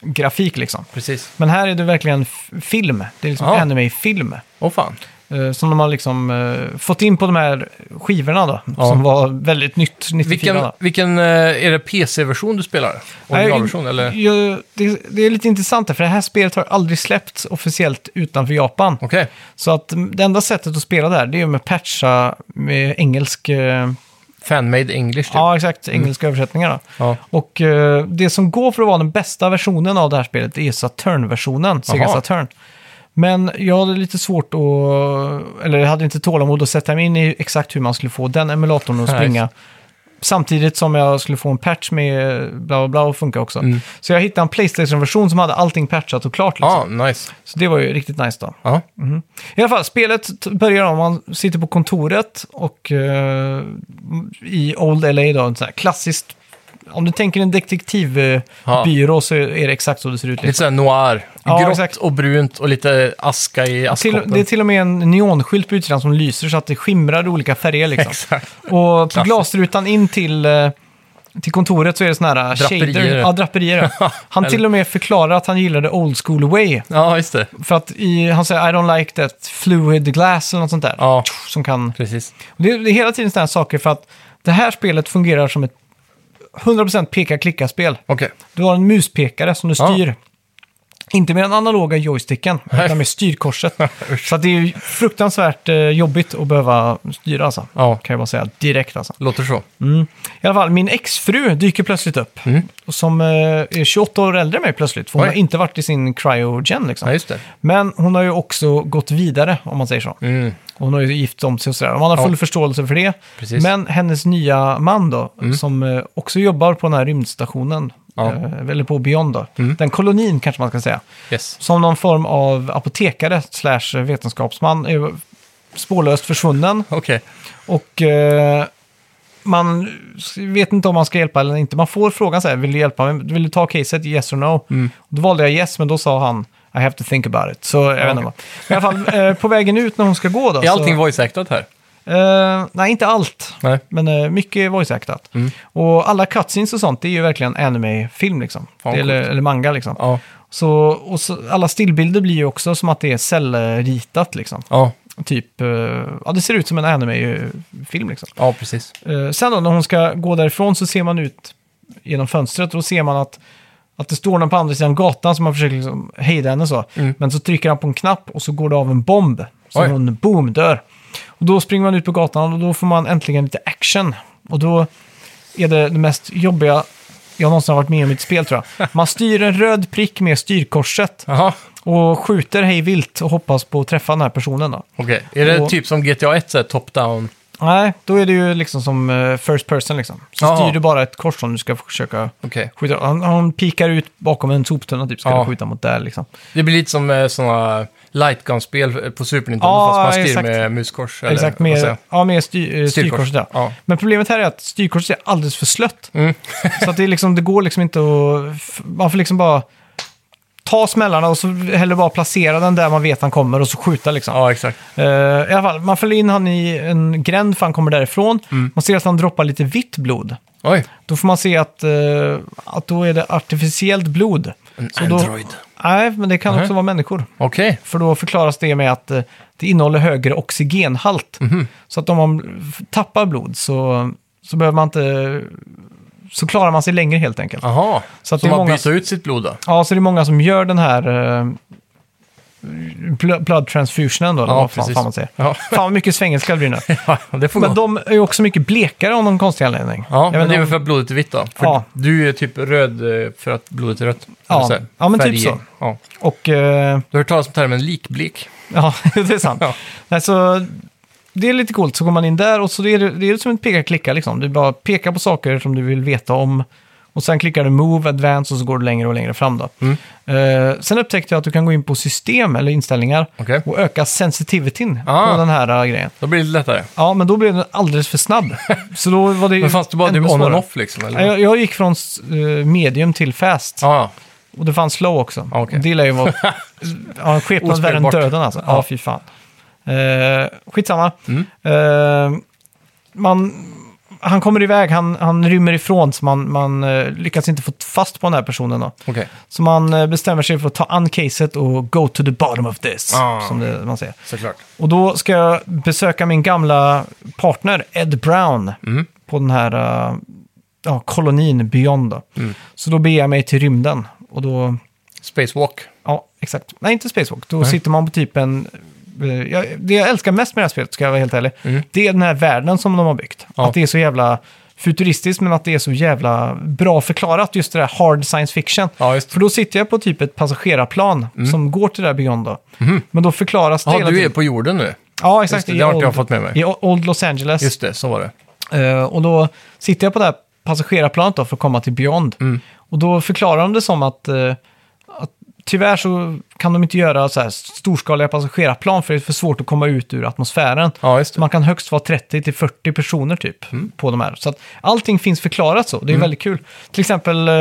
Speaker 1: grafik liksom.
Speaker 2: precis.
Speaker 1: Men här är det verkligen f- film. Det är liksom
Speaker 2: Ja.
Speaker 1: anime-film.
Speaker 2: Åh fan.
Speaker 1: eh, Som de har liksom eh, fått in på de här skivorna då.
Speaker 2: Ja.
Speaker 1: Som var väldigt nytt 94
Speaker 2: Vilken,
Speaker 1: då.
Speaker 2: vilken eh, är det PC-version du spelar? Originalversion eller?
Speaker 1: ju, det, det är lite intressant här, för det här spelet har aldrig släppts officiellt utanför Japan.
Speaker 2: Okej,
Speaker 1: Så att mm, det enda sättet att spela där, det är ju med patcha med engelsk... eh,
Speaker 2: fanmade English typ.
Speaker 1: Ja, exakt. Engelska översättningar då.
Speaker 2: Ja.
Speaker 1: Och eh, det som går för att vara den bästa versionen av det här spelet det är Saturn-versionen, Sega
Speaker 2: Jaha.
Speaker 1: Saturn. Men jag hade lite svårt att, eller jag hade inte tålamod att sätta mig in i exakt hur man skulle få den emulatorn att
Speaker 2: Nej,
Speaker 1: springa. Samtidigt som jag skulle få en patch med bla bla bla och funka också. Så jag hittade en Playstation-version som hade allting patchat och klart. Liksom.
Speaker 2: Mm. Ja, Ah, nice.
Speaker 1: Så det var ju riktigt nice då.
Speaker 2: Ja,
Speaker 1: I alla fall, spelet t- börjar om man sitter på kontoret och eh, i Old LA då, en sån här klassiskt, om du tänker en
Speaker 2: Ja.
Speaker 1: detektivbyrå så är det exakt så det ser ut.
Speaker 2: lite
Speaker 1: Liksom.
Speaker 2: såhär noir.
Speaker 1: Ja,
Speaker 2: Grått
Speaker 1: exakt.
Speaker 2: och brunt och lite aska i
Speaker 1: Till,
Speaker 2: askkoppen.
Speaker 1: det är till och med en neonskylt på utsidan som lyser så att det skimrar i olika färger liksom.
Speaker 2: Exakt.
Speaker 1: Och på
Speaker 2: Klassiskt.
Speaker 1: glasrutan in till, eh, till kontoret så är det såna här eh,
Speaker 2: Draperier.
Speaker 1: shader. Ja, draperier. ja. Han till och med förklarar att han gillade old school way.
Speaker 2: Ja, just det.
Speaker 1: För att i, han säger I don't like that fluid glass eller något sånt där.
Speaker 2: Ja.
Speaker 1: Som kan...
Speaker 2: Precis.
Speaker 1: Och Det är, det är hela tiden sådana här saker för att det här spelet fungerar som ett 100% peka-klicka-spel.
Speaker 2: Okej.
Speaker 1: Du har en muspekare som du
Speaker 2: Ja.
Speaker 1: styr. Inte med den analoga joysticken, utan med styrkorset. så att det är ju fruktansvärt eh, jobbigt att behöva styra alltså.
Speaker 2: Ja,
Speaker 1: Kan jag bara säga direkt alltså.
Speaker 2: låter så.
Speaker 1: I alla fall, min exfru dyker plötsligt upp. Och Som eh, är 28 år äldre än mig plötsligt. För hon
Speaker 2: Mm. Oj.
Speaker 1: har inte varit i sin cryogen liksom.
Speaker 2: Ja, just det.
Speaker 1: Men hon har ju också gått vidare, om man säger så.
Speaker 2: Mm.
Speaker 1: Hon har ju gift om sig och sådär. Och Man har full
Speaker 2: Ja.
Speaker 1: förståelse för det.
Speaker 2: Precis. Mm.
Speaker 1: Men hennes nya man då, som eh, också jobbar på den här rymdstationen,
Speaker 2: Ja. Mm.
Speaker 1: eh, eller på Beyond då, den kolonin kanske man ska säga,
Speaker 2: Yes.
Speaker 1: som någon form av apotekare slash vetenskapsman, är ju spårlöst försvunnen.
Speaker 2: Okej.
Speaker 1: Och eh, man vet inte om man ska hjälpa eller inte. Man får frågan så här, vill du hjälpa mig? Vill du ta caset? Yes or no?
Speaker 2: Mm.
Speaker 1: Då valde jag yes, men då sa han I have to think about it. Så jag vet inte. vad. I alla fall, eh, på vägen ut när hon ska gå då.
Speaker 2: Är allting
Speaker 1: så,
Speaker 2: voice-actat här?
Speaker 1: eh, nej, inte allt.
Speaker 2: Nej. Mm.
Speaker 1: Men eh, mycket voice-actat. Och alla cutscenes och sånt, det är ju verkligen anime-film liksom.
Speaker 2: Fan,
Speaker 1: Det- eller,
Speaker 2: coolt.
Speaker 1: eller manga liksom.
Speaker 2: Ja.
Speaker 1: Så, och så, alla stillbilder blir ju också som att det är cellritat liksom.
Speaker 2: Ja.
Speaker 1: Typ, eh, ja det ser ut som en anime-film liksom.
Speaker 2: Ja, precis.
Speaker 1: Eh, sen då, när hon ska gå därifrån så ser man ut genom fönstret och då ser man att, att det står någon på andra sidan gatan som man försöker liksom hejda henne så. Men så trycker han på en knapp och så går det av en bomb. Så
Speaker 2: Oj.
Speaker 1: hon, boom, dör. Och då springer man ut på gatan och då får man äntligen lite action. Och då är det det mest jobbiga jag någonsin har varit med om i ett spel tror jag. Man styr en röd prick med styrkorset
Speaker 2: Jaha.
Speaker 1: och skjuter hej vilt och hoppas på att träffa den här personen då.
Speaker 2: Okej. Är det
Speaker 1: Och-
Speaker 2: typ som GTA 1, så här top-down?
Speaker 1: Nej, då är det ju liksom som eh, first person liksom. Så
Speaker 2: Jaha.
Speaker 1: styr du bara ett kors som du ska försöka
Speaker 2: Okej.
Speaker 1: skjuta. Han, han pikar ut bakom en soptunna typ, ska
Speaker 2: Ja.
Speaker 1: du skjuta mot där liksom.
Speaker 2: Det blir lite som eh, såna light gun-spel på Super Nintendo,
Speaker 1: Ja,
Speaker 2: fast man styr
Speaker 1: exakt.
Speaker 2: med muskors. Eller,
Speaker 1: Exakt,
Speaker 2: vad säger
Speaker 1: med,
Speaker 2: jag?
Speaker 1: ja, med styr, eh, styrkorset. Ja.
Speaker 2: Ja.
Speaker 1: Men problemet här är att styrkorset är alldeles för slött.
Speaker 2: Mm.
Speaker 1: så att det, är liksom, det går liksom inte att... f- Man får liksom bara ta smällarna och så heller bara placera den där man vet han kommer och så skjuta liksom.
Speaker 2: ja, exakt.
Speaker 1: Eh, I alla fall, man följer in han i en gränd för han kommer därifrån.
Speaker 2: Mm.
Speaker 1: Man ser att han droppar lite vitt blod.
Speaker 2: Oj.
Speaker 1: Då får man se att, eh, att då är det artificiellt blod.
Speaker 2: En
Speaker 1: Så då-
Speaker 2: Android.
Speaker 1: Nej, men det kan också vara människor.
Speaker 2: Okej.
Speaker 1: För då förklaras det med att eh, det innehåller högre oxygenhalt.
Speaker 2: Mhm.
Speaker 1: Så att om man f- tappar blod så, så behöver man inte... Så klarar man sig längre helt enkelt.
Speaker 2: Jaha.
Speaker 1: Så
Speaker 2: Så,
Speaker 1: att det är
Speaker 2: man
Speaker 1: många-
Speaker 2: byter ut sitt blod då?
Speaker 1: Ja, så det är många som gör den här eh, bl- blood transfusionen då, eller vad fan, fan man säger.
Speaker 2: Ja.
Speaker 1: Fan vad mycket svengelska det blir nu.
Speaker 2: Ja, det får
Speaker 1: Men
Speaker 2: gå.
Speaker 1: de är ju också mycket blekare av någon konstig anledning.
Speaker 2: Ja, men
Speaker 1: vet
Speaker 2: det
Speaker 1: inte
Speaker 2: är väl
Speaker 1: om-
Speaker 2: för att blodet är vitt då? För
Speaker 1: Ja.
Speaker 2: Du är typ röd eh, för att blodet är rött.
Speaker 1: Ja.
Speaker 2: Eller så här,
Speaker 1: Ja, men typ
Speaker 2: färger.
Speaker 1: så.
Speaker 2: Ja.
Speaker 1: Och, eh,
Speaker 2: Du har hört talas om termen likblek?
Speaker 1: ja, det är sant.
Speaker 2: Ja.
Speaker 1: Nej, så det är lite coolt, så går man in där och så är det, det är som ett peka-klicka liksom. Du bara pekar på saker som du vill veta om. Och sen klickar du Move, Advance och så går du längre och längre fram då.
Speaker 2: Mm.
Speaker 1: Eh, sen upptäckte jag att du kan gå in på system eller inställningar
Speaker 2: Okej.
Speaker 1: och öka sensitivityn
Speaker 2: Ah.
Speaker 1: på den här eh, grejen.
Speaker 2: Då blir det lite lättare.
Speaker 1: Ja, men då blev den alldeles för snabb. Så då var det
Speaker 2: Men fanns det bara
Speaker 1: ännu
Speaker 2: typ on and
Speaker 1: svårare.
Speaker 2: off liksom? Eller?
Speaker 1: Nej, Jag, jag gick från eh, medium till fast.
Speaker 2: Ja,
Speaker 1: Och det fanns slow också.
Speaker 2: Ah, okej.
Speaker 1: Och Det lär ju vara ja, skepnad värre än
Speaker 2: Ospelbart.
Speaker 1: döden alltså. Ja,
Speaker 2: Ja. Mm.
Speaker 1: fy fan. Eh, skitsamma. Eh, man, han kommer iväg, han, han rymmer ifrån så man, man eh, lyckas inte få fast på den här personen. Då.
Speaker 2: okej.
Speaker 1: Så man eh, bestämmer sig för att ta an caset och go to the bottom of this.
Speaker 2: Ah.
Speaker 1: Som det, man säger.
Speaker 2: Såklart.
Speaker 1: Och då ska jag besöka min gamla partner Ed Brown
Speaker 2: Mm.
Speaker 1: på den här eh, ja, kolonin Beyond. Då.
Speaker 2: Mm.
Speaker 1: Så då beger jag mig till rymden. Och då,
Speaker 2: Spacewalk.
Speaker 1: ja exakt, nej inte Spacewalk, då sitter man på typ en... eh, Jag, det jag älskar mest med det här spelet, ska jag vara helt ärlig, det är den här världen som de har byggt.
Speaker 2: Mm. Ja.
Speaker 1: Att det är så jävla futuristiskt, men att det är så jävla bra förklarat, just det där hard science fiction.
Speaker 2: Ja, just det.
Speaker 1: För då sitter jag på typ ett passagerarplan som går till det där Beyond då. Men då förklaras det
Speaker 2: Mhm. Ja,
Speaker 1: hela
Speaker 2: du är
Speaker 1: tiden.
Speaker 2: på jorden nu.
Speaker 1: Ja, exakt.
Speaker 2: det,
Speaker 1: i
Speaker 2: det har inte jag
Speaker 1: Old-
Speaker 2: fått med mig.
Speaker 1: I O- Old Los Angeles.
Speaker 2: Just det, så var det.
Speaker 1: Eh, och då sitter jag på det här passagerarplanet då för att komma till Beyond. Och då förklarar de det som att, eh, att tyvärr så kan de inte göra så här storskaliga passagerarplan för det är för svårt att komma ut ur atmosfären.
Speaker 2: Ja, just
Speaker 1: Så
Speaker 2: det.
Speaker 1: man kan högst vara 30 till 40 personer typ
Speaker 2: Mm.
Speaker 1: på de här. Så att allting finns förklarat så. Det är väldigt kul. Till exempel, eh,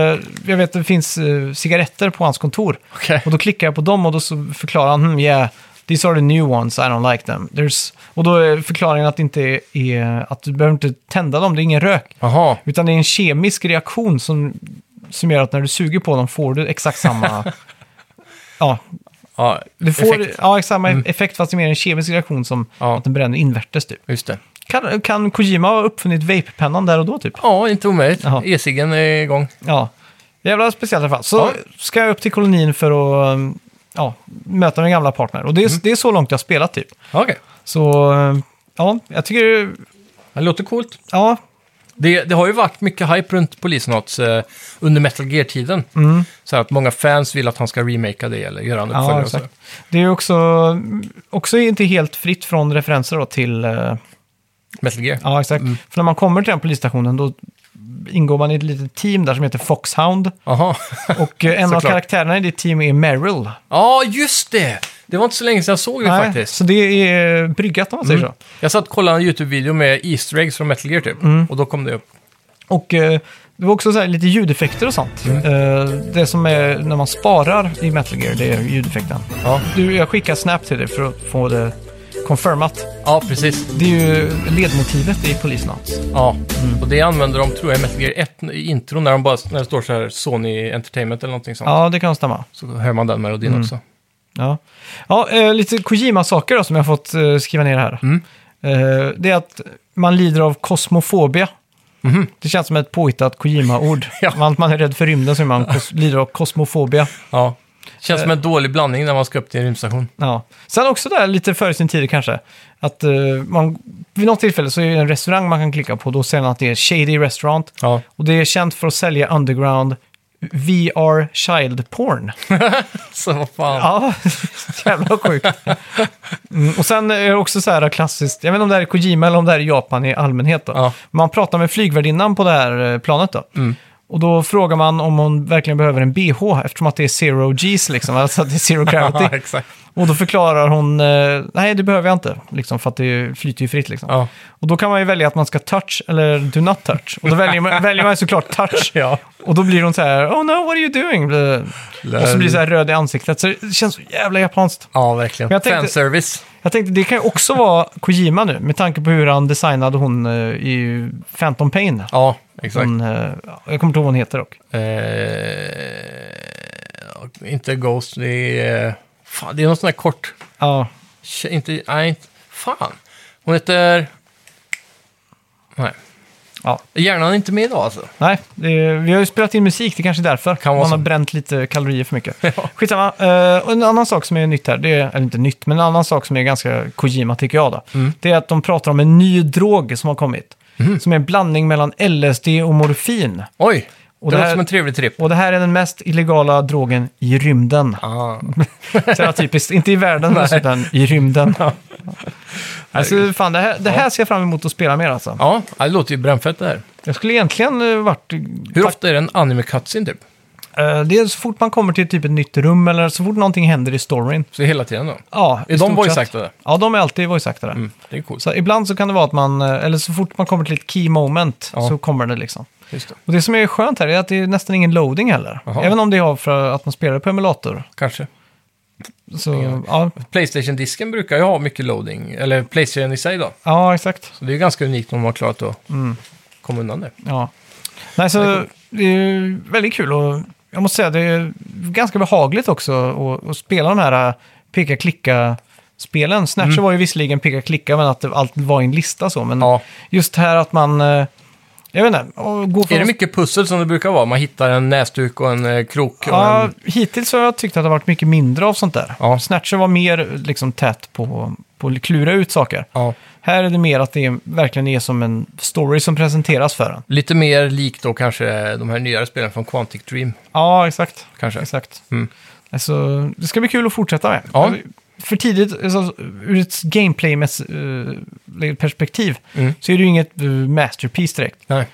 Speaker 1: jag vet att det finns eh, cigaretter på hans kontor.
Speaker 2: Okej.
Speaker 1: Och då klickar jag på dem och då så förklarar han, hmm, yeah, these are the new ones, I don't like them. There's... Och då är förklaringen att det inte är, är att du behöver inte tända dem, det är ingen rök.
Speaker 2: Jaha.
Speaker 1: Utan det är en kemisk reaktion som, som gör att när du suger på dem får du exakt samma... ja,
Speaker 2: Ja,
Speaker 1: du får
Speaker 2: effekt. Mm.
Speaker 1: ja, exakt samma effekt fast det är mer en kemisk reaktion som
Speaker 2: Ja.
Speaker 1: att den bränner invärtes typ.
Speaker 2: Just det.
Speaker 1: Kan, kan Kojima ha uppfunnit vape-pennan där och då typ?
Speaker 2: Ja, inte omöjligt.
Speaker 1: Jaha.
Speaker 2: E-ciggen är igång.
Speaker 1: Ja. Jävla speciellt i alla fall. Så
Speaker 2: Ja.
Speaker 1: ska jag upp till kolonin för att um, ja, möta min gamla partner. Och det
Speaker 2: Mm.
Speaker 1: är, det är så långt jag har spelat typ.
Speaker 2: Okej.
Speaker 1: Så um, ja, jag tycker...
Speaker 2: Det låter coolt.
Speaker 1: Ja,
Speaker 2: Det, det har ju varit mycket hype runt Polisenauts eh, under Metal Gear-tiden. Så här att många fans vill att han ska remakea det eller göra en uppföljare.
Speaker 1: Mm. ja
Speaker 2: och så.
Speaker 1: exakt. Det är ju också, också inte helt fritt från referenser då till... eh,
Speaker 2: Metal Gear.
Speaker 1: Ja, exakt.
Speaker 2: Mm.
Speaker 1: För när man kommer till den polisstationen då ingår man i ett litet team där som heter Foxhound.
Speaker 2: Jaha.
Speaker 1: Och eh, en av
Speaker 2: Såklart.
Speaker 1: karaktärerna i det teamet är Meryl.
Speaker 2: Ja, just det! Det var inte så länge sedan jag såg det
Speaker 1: Nej,
Speaker 2: faktiskt. Mm.
Speaker 1: Så det är bryggat om man säger så.
Speaker 2: Jag satt och kollade en YouTube-video med Easter eggs från Metal Gear typ.
Speaker 1: Mm.
Speaker 2: Och då kom det upp.
Speaker 1: Och eh, det var också så här lite ljudeffekter och sånt. Eh, det som är när man sparar i Metal Gear, det är ljudeffekten.
Speaker 2: Ja,
Speaker 1: Du, jag skickar Snap till dig för att få det confirmat.
Speaker 2: ja precis.
Speaker 1: Det är ju ledmotivet i Police Knots.
Speaker 2: Ja.
Speaker 1: Mm.
Speaker 2: Och det använder de, tror jag, i Metal Gear 1 i intron när, de bara, när det står så här Sony Entertainment eller någonting sånt.
Speaker 1: Ja, Mm. det kan stämma.
Speaker 2: Så hör man den melodin också.
Speaker 1: Ja, ja eh, lite Kojima-saker då som jag har fått eh, skriva ner här. Eh, det är att man lider av kosmofobia. Det känns som ett påhittat Kojima-ord.
Speaker 2: Ja.
Speaker 1: man, man är rädd för rymden så är man kos- lider av kosmofobia.
Speaker 2: Ja. Känns
Speaker 1: Eh.
Speaker 2: som en dålig blandning när man ska upp till en rymdstation.
Speaker 1: Ja. Sen också där lite före sin tid kanske. Att eh, man, vid något tillfälle så är det en restaurang man kan klicka på. Då säger den att det är Shady Restaurant.
Speaker 2: Ja.
Speaker 1: Och det är känt för att sälja underground VR child porn.
Speaker 2: Så vad fan.
Speaker 1: Ja, jävla sjukt. Mm, och sen är det också så här klassiskt, jag vet inte om det här är Kojima eller om det här är Japan i allmänhet. Då.
Speaker 2: Ja.
Speaker 1: Man pratar med flygvärdinnan på det här eh, planet då. Och då frågar man om hon verkligen behöver en bh eftersom att det är zero Gs liksom, alltså att det är zero
Speaker 2: Ja,
Speaker 1: gravity.
Speaker 2: exakt.
Speaker 1: och då förklarar hon, eh, nej det behöver jag inte, liksom, för att det flyter ju fritt liksom.
Speaker 2: Ja.
Speaker 1: Och då kan man ju välja att man ska touch eller do not touch. Och då väljer man, väljer man ju såklart touch.
Speaker 2: Ja.
Speaker 1: Och då blir hon så här, oh no, what are you doing? Och så blir det så här röd i ansiktet. Så det känns så jävla japanskt.
Speaker 2: Ja, verkligen.
Speaker 1: Men jag tänkte-
Speaker 2: Fanservice.
Speaker 1: Jag tänkte, det kan ju också vara Kojima nu, med tanke på hur han designade hon eh, i Phantom Pain.
Speaker 2: Ja, exakt.
Speaker 1: Mm. Hon, eh, jag kommer inte ihåg vad hon heter dock.
Speaker 2: Eh, inte Ghost, det är... eh, Fan, det är någon sån här kort...
Speaker 1: Ja.
Speaker 2: tje- Inte, nej, inte, fan. Hon heter... Nej.
Speaker 1: Ja.
Speaker 2: Hjärnan är inte med idag alltså.
Speaker 1: Nej, det är, vi har ju spelat in musik, det är kanske är därför.
Speaker 2: Kan vara
Speaker 1: Man har
Speaker 2: så.
Speaker 1: bränt lite kalorier för mycket.
Speaker 2: Ja.
Speaker 1: Skitsamma. Eh, och en annan sak som är nytt här, det är, eller inte nytt, men en annan sak som är ganska Kojima tycker jag då.
Speaker 2: Mm.
Speaker 1: Det är att de pratar om en ny drog som har kommit. Som är en blandning mellan LSD och morfin.
Speaker 2: Oj!
Speaker 1: Och
Speaker 2: det
Speaker 1: det
Speaker 2: låter
Speaker 1: här-
Speaker 2: som en trevlig tripp.
Speaker 1: Och det här är den mest illegala drogen i rymden.
Speaker 2: Ah.
Speaker 1: Så jävla typiskt, inte i världen, utan i rymden. alltså, fan, det här, det här ser jag fram emot att spela mer alltså.
Speaker 2: Ja, det låter ju brännfett det här.
Speaker 1: Jag skulle egentligen eh, varit...
Speaker 2: Hur ofta är det en anime cutscene typ?
Speaker 1: Eh, Det är så fort man kommer till typ ett nytt rum eller så fort någonting händer i storyn.
Speaker 2: Så hela tiden då?
Speaker 1: Ja, i
Speaker 2: Är de
Speaker 1: stort sett.
Speaker 2: voice-actade?
Speaker 1: Ja, de är alltid voice-actade.
Speaker 2: Mm, det är coolt.
Speaker 1: Så ibland så kan det vara att man, eh, eller så fort man kommer till ett key moment
Speaker 2: Ja.
Speaker 1: så kommer det liksom.
Speaker 2: Just det.
Speaker 1: Och det som är skönt här är att det är nästan ingen loading heller.
Speaker 2: Jaha.
Speaker 1: Även om det är för att man spelar på emulator.
Speaker 2: Kanske.
Speaker 1: Så, ja,
Speaker 2: Playstation-disken brukar ju ha mycket loading, eller Playstation i sig då.
Speaker 1: ja, exakt.
Speaker 2: Så det är ganska unikt om de har klarat att
Speaker 1: Mm.
Speaker 2: komma undan det.
Speaker 1: Ja. Nej, så det är, ju väldigt kul och jag måste säga det är ganska behagligt också att, att spela de här äh, peka-klicka-spelen. Snatcher var ju visserligen peka-klicka, men att det, allt var i en lista så. Men
Speaker 2: Mm. Ja.
Speaker 1: just här att man, eh, jag vet inte, och gå från...
Speaker 2: Är det mycket pussel som det brukar vara? Man hittar en näsduk och en eh, krok? Och
Speaker 1: Ja,
Speaker 2: en...
Speaker 1: hittills har jag tyckt att det har varit mycket mindre av sånt där.
Speaker 2: Ja.
Speaker 1: Snatcher var mer liksom tät på, på att klura ut saker.
Speaker 2: ja.
Speaker 1: Här är det mer att det är, verkligen är som en story som presenteras för en.
Speaker 2: Lite mer likt då kanske de här nyare spelen från Quantic Dream.
Speaker 1: Ja, exakt.
Speaker 2: Kanske.
Speaker 1: Exakt.
Speaker 2: Mm.
Speaker 1: Alltså, det ska bli kul att fortsätta med. Alltså,
Speaker 2: Ja.
Speaker 1: För tidigt, alltså, ur ett gameplay-perspektiv,
Speaker 2: Mm.
Speaker 1: så är det ju inget eh, masterpiece direkt.
Speaker 2: Nej.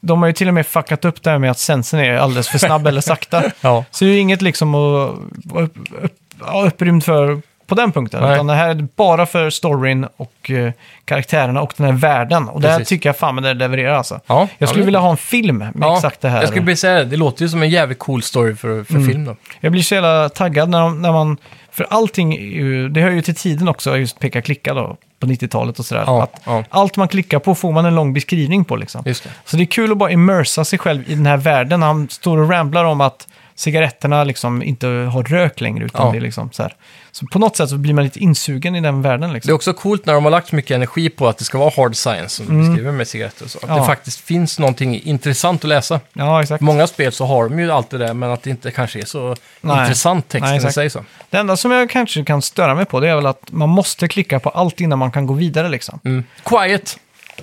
Speaker 1: De har ju till och med fuckat upp det här med att sensen är alldeles för snabb eller sakta.
Speaker 2: Ja.
Speaker 1: Så det är ju inget liksom att vara upp, upp, ja, upprymd för på den punkten.
Speaker 2: Nej.
Speaker 1: Utan det här är bara för storyn och eh, karaktärerna och den här världen. Och där
Speaker 2: Precis.
Speaker 1: tycker jag fan med det levererar alltså.
Speaker 2: Ja,
Speaker 1: Jag skulle
Speaker 2: ja,
Speaker 1: vilja ha en film med exakt det här. Mm.
Speaker 2: Jag skulle bli säga det. Det låter ju som en jävligt cool story för, för film då.
Speaker 1: Jag blir så jävla taggad när, de, när man... För allting, är ju- det hör ju till tiden också, just peka-klicka då, på 90-talet och sådär.
Speaker 2: Ja,
Speaker 1: att
Speaker 2: ja.
Speaker 1: Allt man klickar på får man en lång beskrivning på liksom.
Speaker 2: Just det.
Speaker 1: Så det är kul att bara immersa sig själv i den här världen. Han står och ramblar om att cigaretterna liksom inte har rök längre, utan
Speaker 2: Ja.
Speaker 1: det är liksom så här. Så på något sätt så blir man lite insugen i den världen
Speaker 2: Det är
Speaker 1: liksom.
Speaker 2: också coolt när de har lagt så mycket energi på att det ska vara hard science som du beskriver med cigaretter och så. Att
Speaker 1: Mm. Ja.
Speaker 2: det faktiskt finns någonting intressant att läsa.
Speaker 1: Ja, exakt.
Speaker 2: I många spel så har de ju allt det där, men att det inte kanske är så
Speaker 1: Nej.
Speaker 2: intressant texten
Speaker 1: Nej,
Speaker 2: i
Speaker 1: exakt.
Speaker 2: sig. Så.
Speaker 1: Det enda som jag kanske kan störa mig på, det är väl att man måste klicka på allt innan man kan gå vidare liksom.
Speaker 2: Mm. Quiet!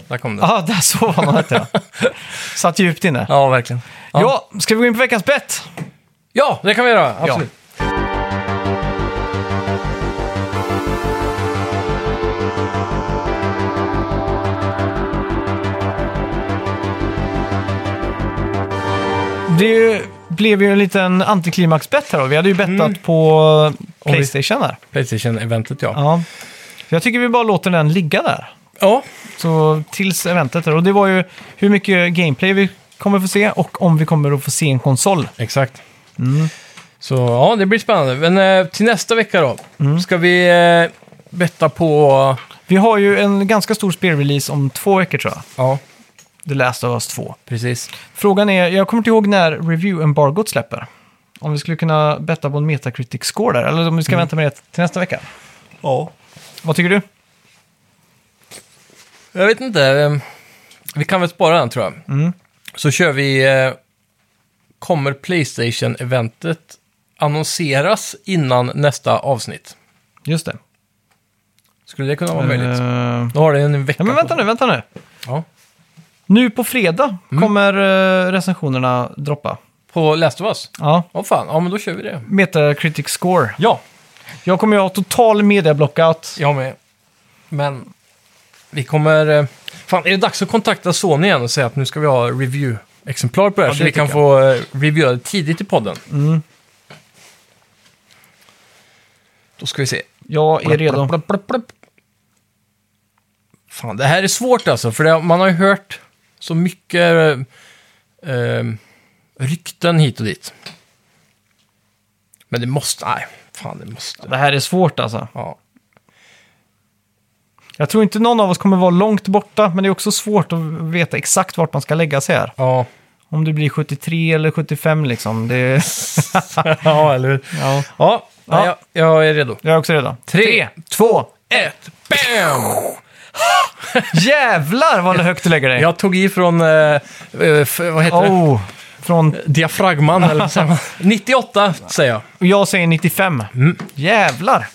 Speaker 2: Där kom det.
Speaker 1: Ja, där sov han, hette jag. Satt djupt inne.
Speaker 2: Ja, verkligen. Ja. ja.
Speaker 1: Ja, ska vi gå in på veckans bett?
Speaker 2: det kan vi göra. Absolut.
Speaker 1: Det är ju- blev ju en liten antiklimaxbett här då. Vi hade ju bettat på
Speaker 2: vi-
Speaker 1: Playstation här.
Speaker 2: Playstation-eventet, ja.
Speaker 1: Ja. Så jag tycker vi bara låter den ligga där.
Speaker 2: Ja,
Speaker 1: Så tills eventet där. Och det var ju hur mycket gameplay vi kommer få se och om vi kommer att få se en konsol.
Speaker 2: exakt. Så ja, det blir spännande. Men eh, till nästa vecka då,
Speaker 1: Mm.
Speaker 2: ska vi eh, betta på...
Speaker 1: Vi har ju en ganska stor spelrelease om två veckor tror jag.
Speaker 2: Ja,
Speaker 1: The Last of Us 2.
Speaker 2: precis.
Speaker 1: Frågan är, jag kommer inte ihåg när review-embargot släpper. Om vi skulle kunna betta på en Metacritic-score där, eller om vi ska vänta med det till nästa vecka.
Speaker 2: Ja.
Speaker 1: Vad tycker du?
Speaker 2: Jag vet inte. eh, Vi kan väl spara den tror jag.
Speaker 1: Mm.
Speaker 2: Så kör vi... eh, Kommer Playstation-eventet annonseras innan nästa avsnitt?
Speaker 1: Just det.
Speaker 2: Skulle det kunna vara möjligt?
Speaker 1: Eh,
Speaker 2: Då har det en vecka
Speaker 1: ja, men
Speaker 2: på
Speaker 1: vänta nu,
Speaker 2: sig.
Speaker 1: vänta nu.
Speaker 2: Ja.
Speaker 1: Nu på fredag
Speaker 2: Mm.
Speaker 1: kommer eh, recensionerna droppa.
Speaker 2: På Last of Us?
Speaker 1: Ja,
Speaker 2: Ja, fan. Ja, men då kör vi det.
Speaker 1: Metacritic score.
Speaker 2: Ja,
Speaker 1: Jag kommer ju ha total mediablockout.
Speaker 2: jag med. Men vi kommer... eh, Fan, är det dags att kontakta Sony igen och säga att nu ska vi ha review-exemplar på det här?
Speaker 1: Ja,
Speaker 2: så
Speaker 1: det
Speaker 2: vi kan
Speaker 1: tycker Mm.
Speaker 2: få eh, reviewa det tidigt i podden. Då ska vi se.
Speaker 1: Jag är redo.
Speaker 2: Blapp, blapp, blapp. Fan, det här är svårt alltså, för det, man har ju hört så mycket eh, eh, rykten hit och dit. Men det måste, nej, fan det måste.
Speaker 1: Det här är svårt alltså.
Speaker 2: Ja,
Speaker 1: Jag tror inte någon av oss kommer vara långt borta, men det är också svårt att veta exakt vart man ska lägga sig här.
Speaker 2: ja
Speaker 1: Om det blir 73 eller 75 liksom. Det...
Speaker 2: ja, eller hur?
Speaker 1: ja.
Speaker 2: Ja,
Speaker 1: Ja.
Speaker 2: Jag, jag är redo.
Speaker 1: Jag är också redo.
Speaker 2: Tre,
Speaker 1: två,
Speaker 2: Ett, bam!
Speaker 1: Jävlar vad högt du lägger dig!
Speaker 2: Jag tog ifrån, eh, eh, f- vad heter det?
Speaker 1: Oh, från,
Speaker 2: Diafragman eller vad säger man? 98 säger jag.
Speaker 1: jag säger 95.
Speaker 2: Mm.
Speaker 1: Jävlar!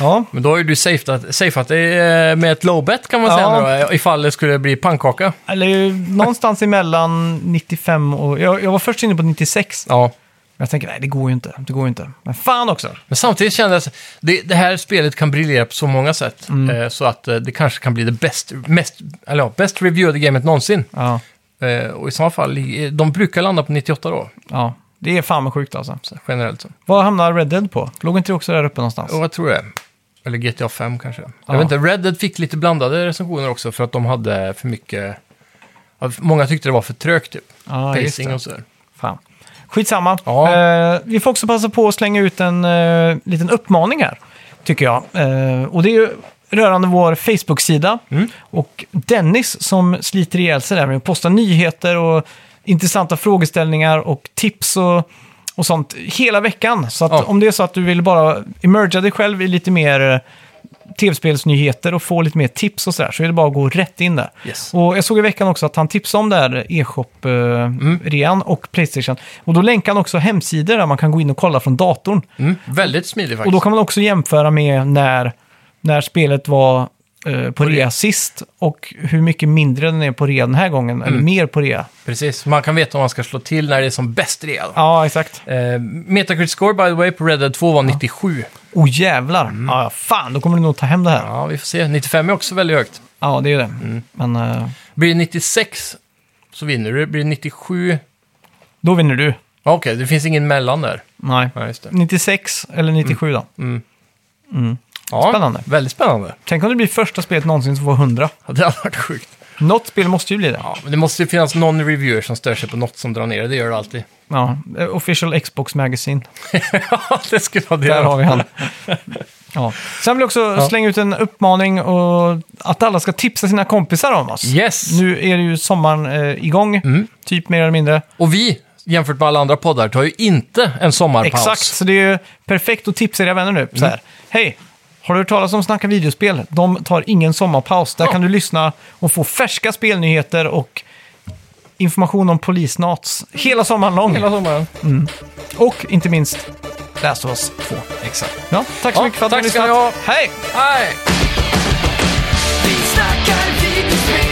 Speaker 1: Ja,
Speaker 2: Men då har ju du safeat, safeat dig eh, med ett low bet kan man
Speaker 1: Ja.
Speaker 2: säga nu då, ifall det skulle bli pannkaka.
Speaker 1: eller ju någonstans emellan 95 och... Jag, jag var först inne på 96.
Speaker 2: Ja.
Speaker 1: Jag tänker, nej det går ju inte. Det går ju inte. Men fan också!
Speaker 2: Men samtidigt kändes det, det här spelet kan briljera på så många sätt. Eh, så att eh, det kanske kan bli det bäst, mest, eller ja, bäst reviewade gamet någonsin.
Speaker 1: Ja,
Speaker 2: Eh, och i så fall, eh, de brukar landa på 98 då,
Speaker 1: ja. Det är fan vad sjukt alltså.
Speaker 2: så generellt. Så.
Speaker 1: Vad hamnar Red Dead på? Låg inte det också där uppe någonstans?
Speaker 2: Ja, vad tror jag. Eller GTA 5 kanske.
Speaker 1: Ja.
Speaker 2: Jag vet inte, Red Dead fick lite blandade recensioner också för att de hade för mycket... ja, Många tyckte det var för trögt typ.
Speaker 1: Ja, just
Speaker 2: Pacing
Speaker 1: det.
Speaker 2: och sådär.
Speaker 1: Fan. Skitsamma.
Speaker 2: Ja.
Speaker 1: Eh, vi får också passa på att slänga ut en eh, liten uppmaning här, tycker jag. Eh, och det är ju rörande vår Facebook-sida.
Speaker 2: Mm.
Speaker 1: Och Dennis som sliter ihjäl sig där med att posta nyheter och intressanta frågeställningar och tips och, och sånt hela veckan. Så att
Speaker 2: Ja.
Speaker 1: om det är så att du vill bara emerga dig själv i lite mer eh, tv-spelsnyheter och få lite mer tips och sådär, så är det bara att gå rätt in där.
Speaker 2: Yes.
Speaker 1: Och jag såg i veckan också att han tipsade om det här
Speaker 2: Mm.
Speaker 1: e-shop-rean och Playstation. Och då länkade han också hemsidor där man kan gå in och kolla från datorn.
Speaker 2: Mm. Väldigt smidig
Speaker 1: Och
Speaker 2: faktiskt.
Speaker 1: då kan man också jämföra med när, när spelet var eh, på rea sist och hur mycket mindre den är på rea den här gången,
Speaker 2: Mm.
Speaker 1: eller mer på rea.
Speaker 2: Precis, man kan veta om man ska slå till när det är som bäst redan.
Speaker 1: Ja, exakt.
Speaker 2: Eh, Metacritic score by the way på Red Dead 2 var 97.
Speaker 1: Oh jävlar! Ja, fan, då kommer du nog ta hem det här. Ja,
Speaker 2: Mm. Ja, Mm. vi får se. 95 är också väldigt högt.
Speaker 1: det är ju det. Men eh,
Speaker 2: Blir det 96 så vinner du. Blir det 97...
Speaker 1: då vinner du.
Speaker 2: Ja, Okej, det finns ingen mellan där.
Speaker 1: Nej.
Speaker 2: Ja, just det.
Speaker 1: 96 eller 97 då.
Speaker 2: Ja,
Speaker 1: Spännande.
Speaker 2: Väldigt spännande.
Speaker 1: Tänk om det blir första spelet någonsin som får 100.
Speaker 2: Ja, det hade varit sjukt.
Speaker 1: Något spel måste ju bli det.
Speaker 2: Ja, men det måste ju finnas någon reviewer som stör sig på något som drar ner det. Det gör det alltid.
Speaker 1: Ja, eh, official Xbox Magazine.
Speaker 2: Ja, det skulle vara det.
Speaker 1: Där har vi han. Ja. Sen vill jag också slänga ut en uppmaning och att alla ska tipsa sina kompisar om oss.
Speaker 2: Yes! Mm.
Speaker 1: Nu är det ju sommaren eh, igång, typ mer eller mindre.
Speaker 2: Och vi, jämfört med alla andra poddar, tar ju inte en sommarpaus.
Speaker 1: Exakt, så det är ju perfekt att tipsa era vänner nu.
Speaker 2: Mm.
Speaker 1: Så här, hej, har du hört talas om Snacka videospel? De tar ingen sommarpaus. Där
Speaker 2: Ja.
Speaker 1: kan du lyssna och få färska spelnyheter och information om polisnats hela sommaren lång.
Speaker 2: Hela sommaren.
Speaker 1: Och inte minst Last of Us 2.
Speaker 2: Exakt.
Speaker 1: Ja, tack så
Speaker 2: Ja,
Speaker 1: mycket för att ni har
Speaker 2: tack ska
Speaker 1: lyssnat.
Speaker 2: ni ha.
Speaker 1: Hej!
Speaker 2: Hej!
Speaker 3: Vi snackar videospel,